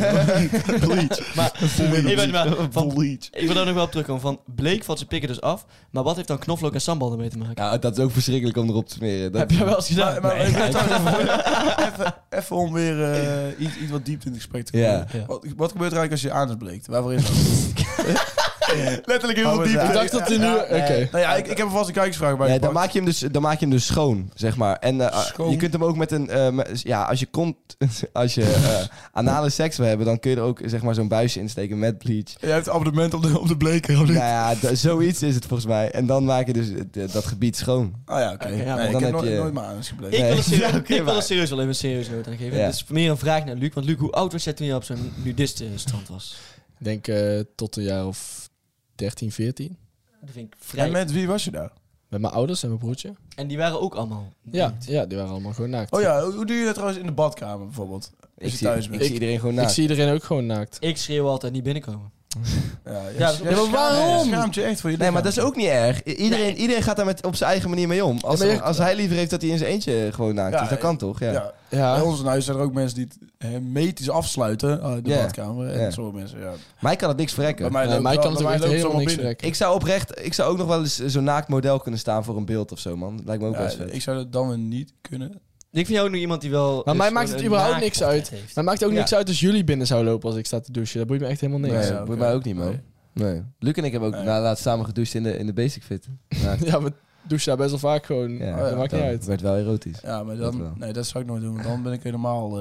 S5: Bleach.
S4: Maar- Ik weet maar,
S2: Oh,
S4: van-
S5: Bleach.
S4: Ik wil daar nog wel op terugkomen. Van Bleek valt zijn pikken dus af. Maar wat heeft dan knoflook en sambal ermee te maken?
S2: Ja, Nou, dat is ook verschrikkelijk om erop te smeren. Dat...
S4: heb je wel eens gedaan?
S5: Maar, maar
S4: Nee.
S5: ik wil trouwens Nou, even, even, even om weer eh, iets, iets wat diep in het gesprek te komen.
S2: Ja.
S4: Ja.
S5: Wat, wat gebeurt er eigenlijk als je anus bleekt? Waarvoor is dat?
S2: Letterlijk
S5: heel diep.
S3: Ik dacht dat hij nu... Oké.
S5: Nou ja, ik, ik heb vast een kijkersvraag bij
S2: Nee, dan
S5: gepakt.
S2: maak, je hem dus, dan maak je hem dus schoon, zeg maar. En eh, ah,
S5: Schoon?
S2: je kunt hem ook met een... eh, met- ja, als je, kont, als je eh, anale seks wil hebben, dan kun je er ook zeg maar, zo'n buisje insteken met bleach.
S5: Jij hebt abonnement op de, op de bleker. of niet?
S2: Nou ja, d- zoiets is het volgens mij. En dan maak je dus het, eh, dat gebied schoon.
S5: Ah ja, oké.
S4: Oké, ja,
S5: Nee,
S4: maar
S5: ik
S2: dan
S5: heb
S2: heb
S5: nooit,
S2: je-
S5: nooit mijn anus gebleekt.
S4: Ik wil,
S2: Nee.
S4: er serieus,
S2: Ja, oké,
S4: ik wil er
S2: maar-
S4: serieus wel even een serieus noot aan geven.
S2: Ja.
S4: Dit is meer een vraag naar Luc. Want Luc, hoe oud was jij toen je op zo'n nudistenstrand was?
S3: Ik denk eh, tot een jaar of 13, 14.
S4: Dat vind ik vrij...
S5: En
S4: En,
S5: met wie was je daar?
S3: Met mijn ouders en mijn broertje.
S4: die waren ook allemaal...
S3: Ja, ja die waren allemaal gewoon naakt.
S5: Oh ja, hoe doe je dat trouwens in de badkamer bijvoorbeeld?
S2: Ik,
S5: je
S2: zie,
S5: thuis
S2: ik
S5: bent.
S2: zie iedereen gewoon
S3: Ik
S2: naakt.
S3: zie iedereen ook gewoon naakt.
S4: Ik schreeuw altijd niet binnenkomen.
S5: Ja,
S4: Ja, dat- Ja, maar
S3: waarom?
S5: Je schaamt je echt voor je
S2: Nee, maar dat is
S5: lichaam.
S2: ook niet erg. I- Iedereen, iedereen gaat daar met, op zijn eigen manier mee om. Als,
S3: Ja, maar je-
S2: als hij liever heeft dat hij in zijn eentje gewoon naakt
S5: Ja,
S2: is, dat kan toch? Ja.
S5: Ja.
S3: Ja.
S5: Bij ons in huis zijn er ook mensen die het hermetisch afsluiten, eh, de
S2: Ja.
S5: badkamer. En
S2: Ja.
S5: sommige mensen, ja.
S2: Mij kan dat niks verrekken.
S5: Bij mij
S3: Nee,
S5: loopt-
S3: maar ik kan
S5: bij
S3: het
S5: mij
S3: echt
S5: loopt
S3: helemaal
S5: allemaal
S3: niks
S5: binnen.
S3: verrekken.
S2: Ik zou oprecht, ik zou ook nog wel eens eh, zo'n naakt model kunnen staan voor een beeld of zo, man. Lijkt me ook
S5: Ja,
S2: wel eens vet.
S5: ik zou dat dan weer niet kunnen.
S4: Ik vind jou ook nog iemand die wel...
S3: Maar mij
S4: dus
S3: maakt
S4: gewoon
S3: het
S4: een
S3: überhaupt
S4: naakt
S3: niks
S4: portret
S3: uit.
S4: heeft.
S3: Maar het maakt ook
S2: Ja.
S3: niks uit als jullie binnen zouden lopen als ik sta te douchen. Dat boeit me echt helemaal niks.
S2: Nee,
S5: Ja,
S2: dat
S5: oké.
S2: bij mij ook niet, man. Nee.
S5: Nee.
S2: Luc en ik hebben ook
S5: Nee.
S2: na, laatst samen gedoucht in de, in de Basic Fit. Ja,
S3: Ja, we douchen daar best wel vaak gewoon.
S2: ja,
S3: dat maakt niet
S2: dan
S3: uit.
S2: werd wel erotisch.
S5: Ja, maar
S2: Dat wel.
S5: dan, nee, dat zou ik nooit doen, want dan ben ik helemaal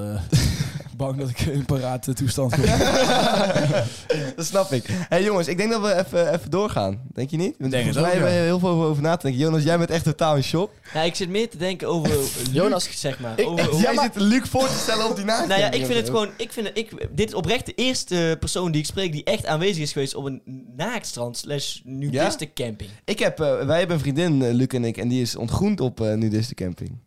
S5: eh, bang dat ik in een parate toestand kom.
S2: dat snap ik. Hé hey, jongens, ik denk dat we even, even doorgaan. Denk je niet? Want
S5: Denk
S2: volgens
S5: het
S2: mij
S5: ook,
S2: hebben we
S5: ja.
S2: heel veel over na te denken. Jonas, jij bent echt totaal in shock.
S4: Nou, ik zit meer te denken over Jonas,
S3: Jonas-
S4: zeg Oh, maar.
S2: Ik-
S4: over,
S2: ik-
S4: hoe-
S2: jij zit Luc voor te stellen op die naakt.
S4: Nou ja, ik vind het gewoon. Ik vind het, ik, dit is oprecht de eerste persoon die ik spreek die echt aanwezig is geweest op een naaktstrand slash nudistencamping.
S2: Ik heb, eh, wij hebben een vriendin, eh, Luc en ik, en die is ontgroend op eh nudistencamping.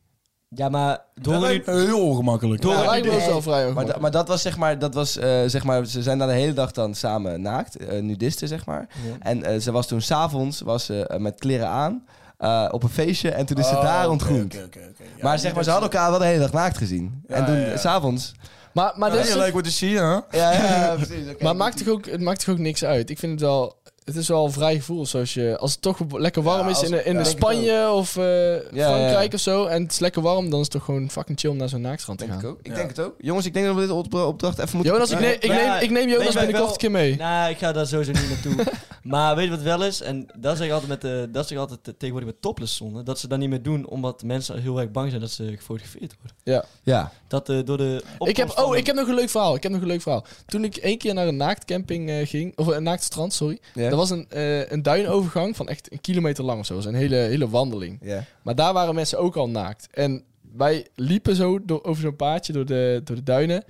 S4: Ja, maar door
S5: Dat
S4: een
S5: lijkt me heel ongemakkelijk.
S4: Door-
S3: Ja,
S4: Ja,
S3: lijkt me
S4: nee.
S3: ook wel vrij
S2: Maar, da-
S3: ongemakkelijk.
S2: maar dat was zeg maar, dat was, eh, zeg maar, ze zijn daar de hele dag dan samen naakt, eh, nudisten zeg maar.
S4: Ja.
S2: En eh, ze was toen s'avonds was ze, eh, met kleren aan eh, op een feestje en toen is ze
S5: Oh,
S2: daar
S5: oké,
S2: ontgroend.
S5: oké, oké, oké. Ja,
S2: maar
S5: niet
S2: zeg maar,
S5: dat
S2: ze hadden elkaar wel de hele dag naakt gezien.
S5: Ja,
S2: en toen,
S5: ja, ja.
S2: s'avonds...
S3: Maar, maar,
S5: Ja,
S3: dat is
S5: you
S3: toch-
S5: like what you see, hè?
S2: Ja, ja, precies.
S3: maar het maakt toch ook, het maakt toch ook niks uit. Ik vind het wel. Het is wel een vrij gevoel. Zoals je, als het toch lekker warm
S5: Ja,
S3: is
S5: als-
S3: in, de- in
S5: ja,
S3: de
S5: denk ik
S3: Spanje of eh,
S2: ja.
S3: Frankrijk of zo. En het is lekker warm, dan is het toch gewoon fucking chill om naar zo'n naaktstrand te
S2: Denk ik
S3: gaan.
S2: ook. Ik denk het ook. Jongens, ik denk dat we dit op- opdracht even moeten...
S3: Jonas, ik neem, ik
S4: Ja,
S3: neem, ik neem Jonas
S4: weet je wat ik
S3: binnenkort een keer mee.
S4: Nou, ik ga daar sowieso niet naartoe. maar weet je wat wel is? En dat zeg ik altijd, met de, dat zeg ik altijd tegenwoordig met topless zonnen. Dat ze dat niet meer doen omdat mensen heel erg bang zijn dat ze gefotografeerd worden.
S3: Ja.
S2: Ja.
S4: Dat eh, door de.
S3: Ik
S4: opkomst
S3: heb,
S4: van
S3: oh,
S4: de-
S3: ik heb nog een leuk verhaal. Ik heb nog een leuk verhaal. Toen ik één keer naar een naaktcamping eh, ging, of een naaktstrand, sorry.
S2: Ja.
S3: Er was een, eh, een duinovergang van echt een kilometer lang of zo. Dat was een hele, hele wandeling.
S2: Ja.
S3: Maar daar waren mensen ook al naakt. En wij liepen zo door, over zo'n paadje door de, door de duinen.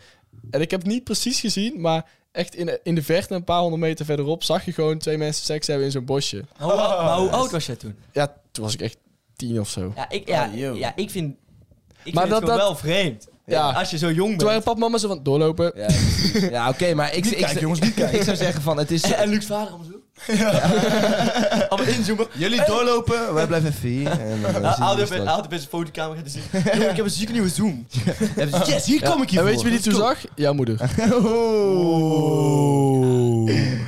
S3: En ik heb het niet precies gezien, maar echt in, in de verte, een paar honderd meter verderop, zag je gewoon twee mensen seks hebben in zo'n bosje.
S4: Maar hoe, maar
S3: Ah.
S4: hoe oud was jij toen?
S3: Ja, toen was ik echt tien of zo.
S4: Ja, ik, ja,
S5: Ah, joh.
S4: ja, ik vind,
S3: Maar
S4: ik vind
S3: dat-
S4: het gewoon
S3: dat-
S4: wel vreemd.
S3: Ja.
S4: Als je zo jong
S3: Toen waren
S4: bent.
S3: papa en mama zo van, doorlopen.
S2: Ja, precies. ja oké, maar ik, ik,
S5: kijken, jongens, niet kijken.
S2: ik zou zeggen van, het is...
S4: En, en Luc vader om zo. Allemaal inzoomen.
S5: Jullie doorlopen.
S2: Wij blijven even hier. En, dan, eh,
S4: Nou,
S2: zien we
S4: Haal
S2: je
S4: de
S2: straks.
S4: haal de beste fotocamera te zien. Jongen, ik heb een zieke nieuwe zoom. Yes, hier kom ik
S3: En
S4: hier
S3: weet je wie die toen zag? Jouw moeder.
S5: Oeh.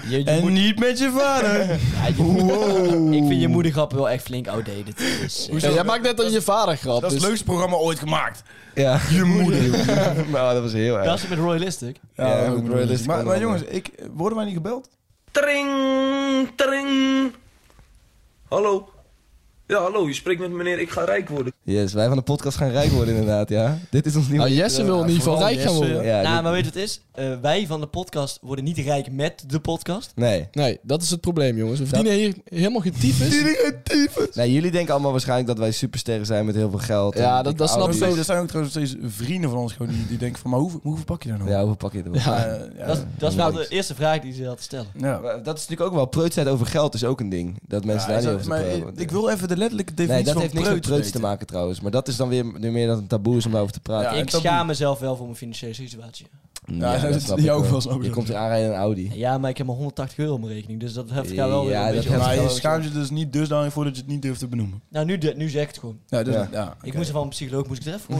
S4: Je, je
S5: En
S4: moeder-
S5: niet met je vader.
S4: ja, je moeder- Ik vind je moedergrappen wel echt flink outdated. Dus, eh,
S3: Ja, jij maakt net dat je vader grap.
S5: Dat is
S3: dus-
S5: het leukste programma ooit gemaakt.
S2: Ja.
S5: Je moeder.
S2: nou, dat was heel
S4: dat
S2: erg.
S4: is het met Royalistic.
S2: Ja,
S5: Ja,
S2: ook
S5: goed,
S2: royalist
S5: Maar,
S2: kan
S5: maar
S2: wel,
S5: jongens, ik, worden wij niet gebeld?
S6: Tring, tring. Hallo. Ja, hallo, je spreekt met meneer Ik ga rijk worden.
S2: Yes, wij van de podcast gaan rijk worden inderdaad, ja. Dit is ons nieuwe...
S3: Nou, Jesse wil in ieder geval
S5: vooral
S3: rijk gaan
S5: Jesse,
S3: worden.
S2: ja,
S4: nou,
S2: dit-
S4: maar weet je wat het is? Eh, wij van de podcast worden niet rijk met de podcast.
S2: Nee.
S3: Nee, dat is het probleem, jongens. We verdienen hier helemaal geen tyfus.
S2: nee, jullie denken allemaal waarschijnlijk dat wij supersterren zijn met heel veel geld. en
S3: Ja, dat-
S2: dikke
S3: dat snap
S5: Er
S2: auto's.
S3: ik.
S5: zijn- er zijn ook trouwens steeds vrienden van ons gewoon die, die denken van, maar hoeveel, hoeveel pak je daar nou?
S2: Ja, hoe pak je het op?
S3: Ja.
S5: Eh, ja.
S4: Dat, is- dat is wel de eerste vraag die ze had te stellen.
S5: Ja.
S2: Maar Dat is natuurlijk ook wel, preutsheid over geld is ook een ding. Dat mensen
S5: Ja,
S2: daar niet
S5: is
S2: over
S5: dat- maar
S2: praten. eh,
S5: ik, ik wil even de letterlijke
S2: Nee,
S5: definitie
S2: dat
S5: van
S2: heeft niks met
S5: preut
S2: preuts te
S5: weten.
S2: maken trouwens. Maar dat is dan weer weer meer dan een taboe is om daarover te praten.
S5: Ja,
S4: ik
S5: en taboe.
S4: schaam mezelf wel voor mijn financiële situatie.
S2: Ja,
S5: dat is-
S2: snap
S5: die
S2: ik
S5: ook
S2: wel.
S5: wel, snap ik
S2: Je
S5: ook.
S2: komt hier aanrijden in een Audi.
S4: Ja, maar ik heb maar 180 euro op mijn rekening, dus dat heft gaat wel weer
S2: Ja,
S4: een
S2: dat
S4: beetje
S2: heft-
S4: op.
S5: Maar je
S2: Ja,
S5: schaamt je dus niet dusdanig voor dat je het niet durft te benoemen.
S4: Nou, nu, de- nu zeg ik het gewoon.
S5: Ja, dus,
S2: Ja.
S5: ja.
S4: Ik moest er van een psycholoog, moest ik het even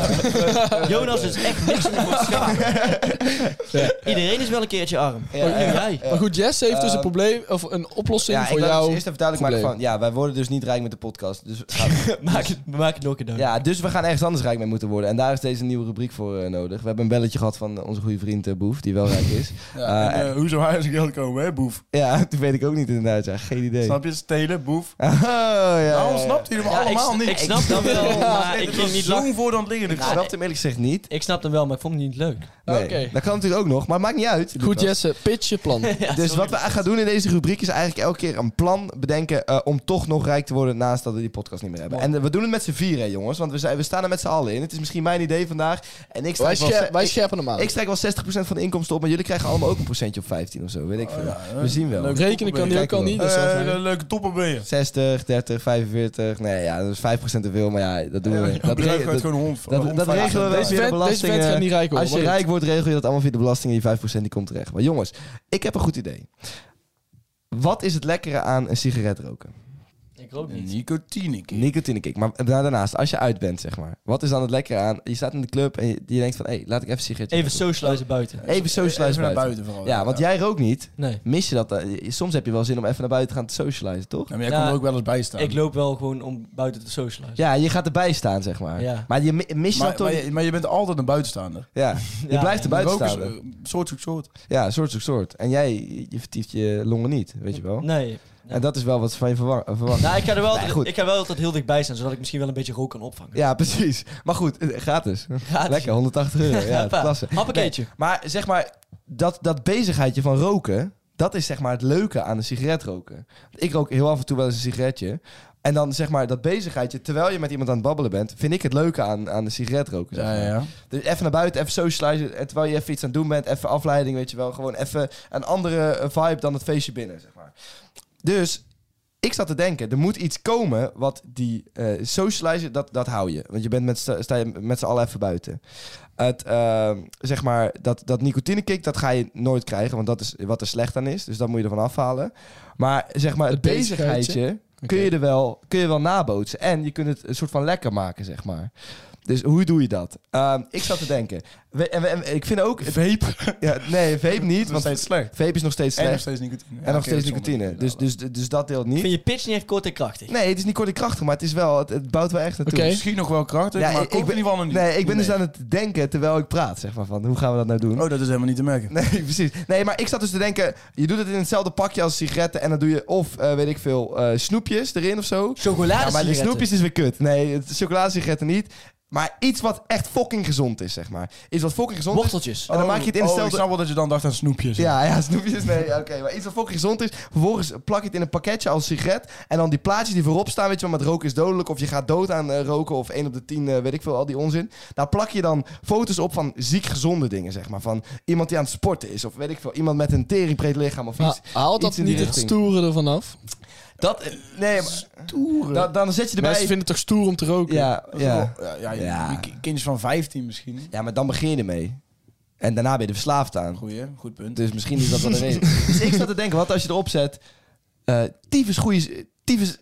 S4: horen. Jonas is echt niks meer voor te schamen. Iedereen is wel een keertje arm.
S2: Ja,
S4: Ook
S2: ja.
S4: jij.
S3: Maar goed, Jesse heeft dus een
S2: Ehm,
S3: probleem, of een oplossing
S2: Ja, ik
S3: voor
S2: wil dus
S3: jou.
S2: eerst even duidelijk maken van...
S3: probleem.
S2: Ja, wij worden dus niet rijk met de podcast. Dus, ga-
S4: Maak het, maak het nog een dag.
S2: ja, dus we gaan ergens anders rijk mee moeten worden. En daar is deze nieuwe rubriek voor eh, nodig. We hebben een belletje gehad van onze goede vriend eh, Boef, die wel rijk is.
S5: Ja, en,
S2: Eh,
S5: eh, hoe zou hij aan zijn geld komen, hè, boef?
S2: Ja, dat weet ik ook niet inderdaad. Ja, geen idee.
S5: Snap je? Stelen, boef.
S2: Oh, ja, ja,
S5: Waarom
S2: ja.
S5: snapt hij hem
S4: Ja, ik
S5: allemaal
S4: s-
S5: niet?
S4: Ik snap hem wel, maar ik
S5: Het
S4: ging
S5: was
S4: niet
S5: zo'n
S4: lachen.
S5: voor dan liggen.
S2: Ik snap hem eerlijk gezegd niet.
S4: Ik snap hem wel, maar ik vond hem niet leuk.
S2: Nee.
S3: Oké.
S2: Dat kan natuurlijk ook nog, maar maakt niet uit.
S3: Goed,
S2: Lucas.
S3: Jesse, pitch je plan.
S2: Dus wat we gaan doen in deze rubriek is eigenlijk elke keer een plan bedenken eh, om toch nog rijk te worden naast dat we die podcast niet meer hebben. En eh, we doen het met z'n vieren, hè, jongens, want we, zijn, we staan er met z'n allen in. Het is misschien mijn idee vandaag. En ik
S3: Wij,
S2: strijk, wel,
S3: scher, wij
S2: ik,
S3: scherpen hem aan.
S2: ik strijk wel 60% van de inkomsten op, maar jullie krijgen allemaal ook een procentje op 15 of zo, weet ik veel. we zien wel.
S5: leuk.
S3: Rekenen kan die ook al niet. Dus dat is wel-
S5: Eh, Leuke topper ben je.
S2: 60, 30, 45, nee ja, dat is 5% te veel, maar ja, dat doen we.
S5: Dat
S2: dat,
S5: bedrijf
S2: re-
S5: gaat
S2: dat,
S5: gewoon hond.
S2: dat- dat regelen we wel via
S3: Deze
S2: de
S3: vent- deze
S2: belastingen.
S3: vent gaat niet rijk worden,
S2: Als je
S3: maar
S2: rijk wordt, regel je dat allemaal via de belasting en die 5% die komt terecht. Maar jongens, ik heb een goed idee. Wat is het lekkere aan een sigaret roken?
S4: Ik rook niet.
S5: Nicotine. kid.
S2: Nicotine kick. Maar da- daarnaast, als je uit bent, zeg maar. Wat is dan het lekkere aan? Je staat in de club en je, je denkt van... Hé, laat ik even een sigaretje
S4: Even socializen buiten.
S2: Even socializen
S5: Even naar
S2: buiten.
S5: buiten vooral.
S2: Ja, want jij rookt niet.
S4: Nee.
S2: Mis je dat dan? Je- Soms heb je wel zin om even naar buiten te gaan te socializen, toch?
S5: Ja, maar jij
S4: Ja.
S5: komt er ook wel eens bij staan.
S4: Ik loop wel gewoon om buiten te socializen.
S2: Ja, je gaat erbij staan, zeg maar.
S4: Ja.
S2: Maar je mi- mis je
S5: maar,
S2: dan toch...
S5: maar, je, maar je bent altijd een buitenstaander.
S2: ja, je
S4: Ja,
S2: blijft
S4: ja.
S2: er buiten
S5: Roken is,
S2: staan.
S5: eh, Soort zoekt soort.
S2: Ja, soort zoek soort. En jij, je vertieft je longen niet, weet je wel.
S4: Nee.
S2: En dat is wel wat ze van je verwa- eh, verwacht.
S4: Nou, ik ga er wel,
S2: Nee, goed.
S4: ik ga wel altijd heel dichtbij staan, zodat ik misschien wel een beetje rook kan opvangen.
S2: Ja, precies. Maar goed, eh, gratis.
S5: Ah,
S4: Gratis.
S2: Lekker, 180 euro. Ja,
S4: Hoppa.
S2: klasse.
S4: Happakeetje.
S2: Maar zeg maar, dat, dat bezigheidje van roken, dat is zeg maar het leuke aan een sigaret roken. Ik rook heel af en toe wel eens een sigaretje. En dan zeg maar dat bezigheidje, terwijl je met iemand aan het babbelen bent, vind ik het leuke aan, aan de sigaret roken. zeg
S5: Ja,
S2: maar.
S5: ja, ja.
S2: Dus even naar buiten, even socializen. En terwijl je even iets aan het doen bent, even afleiding, weet je wel. Gewoon even een andere eh, vibe dan het feestje binnen, zeg maar. Dus ik zat te denken, er moet iets komen wat die eh socializen, dat, dat hou je. Want je bent met, z'n- sta je met z'n allen even buiten. Het, eh, zeg maar, dat, dat nicotinekick, dat ga je nooit krijgen, want dat is wat er slecht aan is. Dus dat moet je ervan afhalen. Maar zeg maar, het
S3: Het bezigheidje?
S2: bezigheidje kun je er wel, kun je wel nabootsen. En je kunt het een soort van lekker maken, zeg maar. Dus hoe doe je dat? Ehm, ik zat te denken. We- en, we- en ik vind ook... Vape? Ja, nee, vape
S5: Dat
S2: niet,
S5: is nog
S2: want
S5: steeds slecht.
S2: vape is nog steeds
S5: En nog
S2: slecht.
S5: steeds nicotine.
S2: En nog steeds nicotine. Dus, dus, dus dat deelt niet.
S4: Vind je pitch niet echt kort en krachtig?
S2: Nee, het is niet kort en krachtig, maar het is wel... Het, het bouwt wel echt naartoe.
S3: Oké.
S5: Misschien nog wel krachtig,
S2: Ja,
S5: maar
S2: ik-
S5: ik ben
S2: ik
S5: in
S2: ben-
S5: ieder geval nog niet.
S2: Nee, ik ben dus
S5: Nee.
S2: aan het denken terwijl ik praat, zeg maar, van hoe gaan we dat nou doen?
S5: Oh, dat is helemaal niet te merken.
S2: Nee, precies. Nee, maar ik zat dus te denken, je doet het in hetzelfde pakje als sigaretten en dan doe je of, eh, weet ik veel, eh, snoepjes erin of zo.
S4: Chocolade
S2: Ja, maar die snoepjes is weer kut. Nee, het- chocoladesigaretten niet. Maar iets wat echt fucking gezond is, zeg maar. Iets wat fucking gezond is.
S4: Worteltjes.
S2: En dan maak je het in
S5: oh, ik
S2: hetzelfde-
S5: snap wel dat je dan dacht aan snoepjes.
S2: Ja, ja, snoepjes. Nee, oké. Maar iets wat fucking gezond is. Vervolgens plak je het in een pakketje als sigaret. En dan die plaatjes die voorop staan, weet je wel, met roken is dodelijk. Of je gaat dood aan eh, roken. Of 1 op de 10, eh, weet ik veel, al die onzin. Daar plak je dan foto's op van ziek gezonde dingen, zeg maar. Van iemand die aan het sporten is. Of weet ik veel, iemand met een teringbreed lichaam
S5: eh,
S2: of
S5: Nou,
S3: Maar
S2: iets.
S3: haalt dat
S2: iets in die
S3: niet het
S2: richting.
S3: stoere ervan af?
S2: Dat, eh, nee, maar- Dan, dan zet je erbij...
S3: Mensen vinden het toch stoer om te roken?
S2: ja,
S5: Dat is
S2: ja.
S5: wel- ja, ja, je-
S2: Ja.
S5: je ki- kindjes van 15 misschien.
S2: ja, maar dan begin je ermee. En daarna ben je er verslaafd aan.
S5: Goeie, goed punt.
S2: Dus misschien is dat wel een reden. dus ik zat te denken, wat als je erop zet... eh tyfus goeie... Tyfus...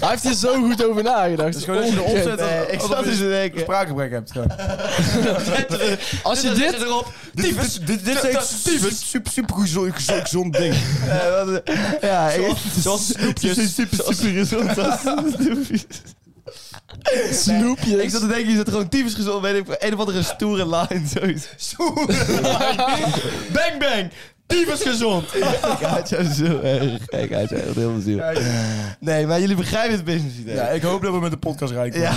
S3: Hij heeft er zo goed over nagedacht.
S5: Dus gewoon dat je erop zet,
S2: Nee, ik
S5: ik
S2: zat dus te denken.
S5: spraakgebrek hebt. gewoon.
S3: Als je dit...
S5: Tyfus, dit dit is echt tyfus, super, super gezond, gezond, gezond ding.
S2: Eh, wat- ja, ik-
S4: Zoals snoepjes.
S2: Super, super gezond. als snoepjes.
S3: Snoepjes.
S2: Ik zat te denken, je zit gewoon tyfus gezond. Weet ik, een of andere stoere line. Zoiets. Stoere line. bang, bang. Tyfus gezond. ik haat jou zo erg. Ik haat jou echt heel veel ziel. Nee, maar jullie begrijpen het business idee.
S5: Ja, ik hoop dat we met de podcast rijken.
S2: Ja.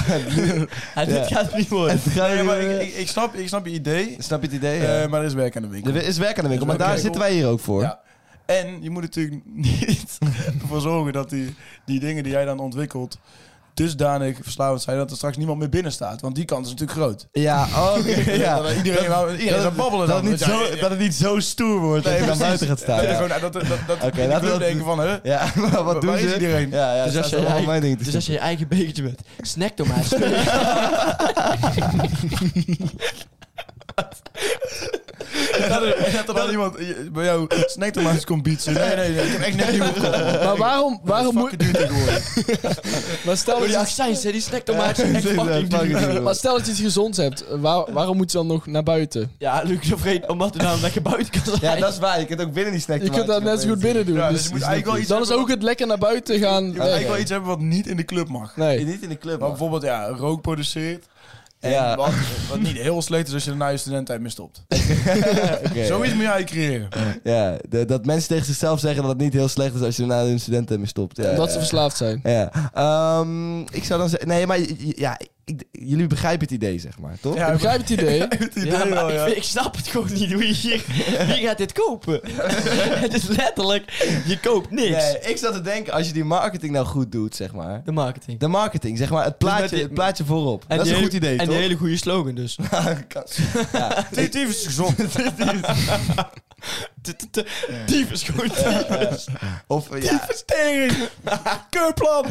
S4: Ja, dit
S2: Ja.
S4: gaat niet worden.
S2: Het gaat
S5: Nee, maar ik,
S2: weer-
S5: ik, ik, snap, ik snap je idee,
S2: Snap je het idee?
S5: eh,
S2: ja?
S5: maar er is werk aan de winkel.
S2: er is werk aan de winkel, maar
S5: er is werk
S2: daar
S5: aan de
S2: zitten wij hier ook voor.
S5: Ja. En je moet natuurlijk niet ervoor zorgen dat die, die dingen die jij dan ontwikkelt dusdanig verslavend zijn dat er straks niemand meer binnen staat. Want die kans is natuurlijk groot.
S2: Ja, oh, oké, ja.
S5: Dat
S2: Dat-
S5: iedereen, nou- iedereen is aan het babbelen
S2: dat,
S5: dan.
S2: het niet
S5: Ja, ja,
S2: zo,
S5: ja.
S2: dat het niet zo stoer wordt dat je dan buiten gaat staan.
S5: Dat je
S2: Ja,
S5: gewoon- dat, dat, dat, dat
S2: Oké,
S5: in de
S2: laten we
S5: club
S2: dat-
S5: denken van, hè?
S2: Ja, maar wat
S5: Waar
S2: doen
S5: is
S2: ze?
S5: iedereen?
S2: Ja, ja,
S4: Dus
S2: dat
S4: als
S2: is
S4: je
S2: allemaal
S4: eigen-
S2: mijn ding te
S4: Dus
S2: doen.
S4: als je je eigen bekertje met snack door mij
S5: Dat er, dat er dan iemand eh, bij jou snacktomaatjes komt bietsen. Nee, nee, nee. Ik heb echt net nieuwe gekocht.
S3: Maar waarom, waarom moet...
S5: Fucking duur tegenwoordig.
S3: Maar stel, dat
S4: die
S3: je,
S4: accijns, hè, die snacktomaatjes.
S2: Ja,
S4: echt
S2: ze-
S4: fucking
S2: ze-
S4: duur.
S2: fucking
S3: maar stel dat je iets gezonds hebt. eh, Waar, waarom moet je dan nog naar buiten?
S4: Ja, Luc de Vreed, omdat hij nou lekker buiten kan zijn.
S2: Ja, dat is waar. Je kunt ook binnen die snack
S3: Je kunt dat net zo goed binnen doen.
S5: Ja, dus
S3: dus
S5: je moet eigenlijk wel iets
S3: dan is
S5: hebben
S3: ook het lekker naar buiten gaan. eh,
S5: Je moet eigenlijk wel iets hebben wat niet in de club mag.
S3: Nee.
S2: Niet in de club. man.
S5: Maar bijvoorbeeld, ja, rook produceert. En
S2: Ja.
S5: wat, wat niet heel slecht is als je er na je studententijd mee stopt.
S2: Oké.
S5: Zoiets moet jij creëren.
S2: Ja, de- dat mensen tegen zichzelf zeggen dat het niet heel slecht is als je na hun studenten mee stopt. Ja,
S3: Omdat
S2: ja.
S3: ze verslaafd zijn.
S2: Ja. Ehm, ik zou dan zeggen... Nee, maar j- j- ja, ik, jullie begrijpen het idee, zeg maar, toch?
S3: Ik begrijp het idee.
S4: Ja, maar ik, vind- ik snap het gewoon niet. Hoe je hier, wie gaat dit kopen? het is letterlijk, je koopt niks.
S2: Nee, ik zat te denken, als je die marketing nou goed doet, zeg maar...
S4: De marketing.
S2: De marketing, zeg maar, het plaatje,
S4: Dus met die-
S2: het plaatje voorop.
S4: En
S2: dat is
S4: die
S2: een
S4: hele-
S2: goed idee,
S4: En
S2: toch?
S4: een hele goede slogan dus.
S5: Dit is gezond.
S4: Dief is gewoon
S2: Of, eh, ja,
S5: Investering. Keurplan.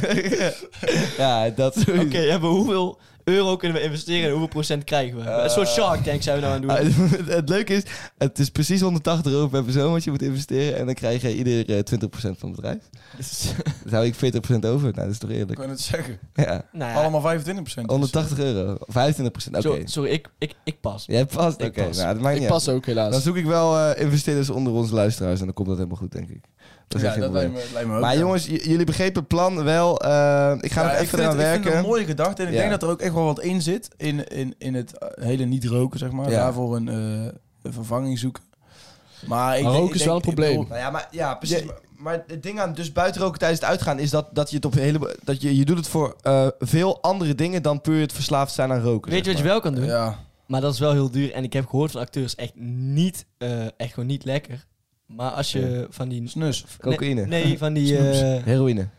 S2: ja, dat sowieso.
S4: Oké, ja, maar hoeveel euro kunnen we investeren en hoeveel procent krijgen we? Een soort Shark Tank zijn we nou aan het doen.
S2: Ah, het, het leuke is, het is precies 180 euro per persoon wat je moet investeren. En dan krijg je ieder eh, 20% van het bedrijf.
S5: Dus-
S2: Dan hou ik 40% over. Nou, dat is toch
S5: Ik
S2: eerlijk?
S5: kan het zeggen.
S2: Ja.
S4: nou ja,
S5: Allemaal 25 procent.
S2: 180 euro. 25%, oké.
S4: zo- sorry, ik, ik, ik pas.
S2: Jij past? Oké,
S4: Ik pas.
S2: nou, dat maakt
S3: Ik
S2: niet
S3: pas
S2: uit.
S3: ook
S2: Dan
S3: helaas.
S2: zoek ik wel eh, investeerders onder onze luisteraars. En dan komt dat helemaal goed, denk ik. Dat is
S5: Ja,
S2: echt geen
S5: dat
S2: probleem.
S5: lijkt me, lijkt me ook.
S2: Maar
S5: ja.
S2: jongens, j- jullie begrepen het plan wel. Eh, ik ga
S5: Ja,
S2: er
S5: ik
S2: nog
S5: vind
S2: even
S5: het-
S2: aan
S5: Ik vind het
S2: werken.
S5: een mooie gedachte. En ik
S2: Ja.
S5: denk dat er ook echt wel wat in zit. In, in, in het eh, hele niet roken, zeg maar.
S2: Ja.
S5: Daarvoor een, eh, een vervanging zoeken. Maar ik
S3: Maar
S5: denk-
S3: roken
S5: ik
S3: is
S5: denk-
S3: wel een
S5: ik
S3: probleem.
S5: bedoel,
S2: Nou ja, maar, ja precies. Maar- Maar het ding aan dus buiten roken tijdens het uitgaan is dat, dat je het op hele. Dat je, je doet het voor eh, veel andere dingen dan puur het verslaafd zijn aan roken.
S4: Weet je
S2: zeg
S4: wat je
S2: maar.
S4: wel kan doen?
S5: Ja.
S4: Maar dat is wel heel duur. En ik heb gehoord van acteurs echt niet, eh, echt gewoon niet lekker. Maar als je van die...
S5: Snus.
S2: Cocaïne.
S4: Nee, nee, van die, eh,
S2: Heroïne.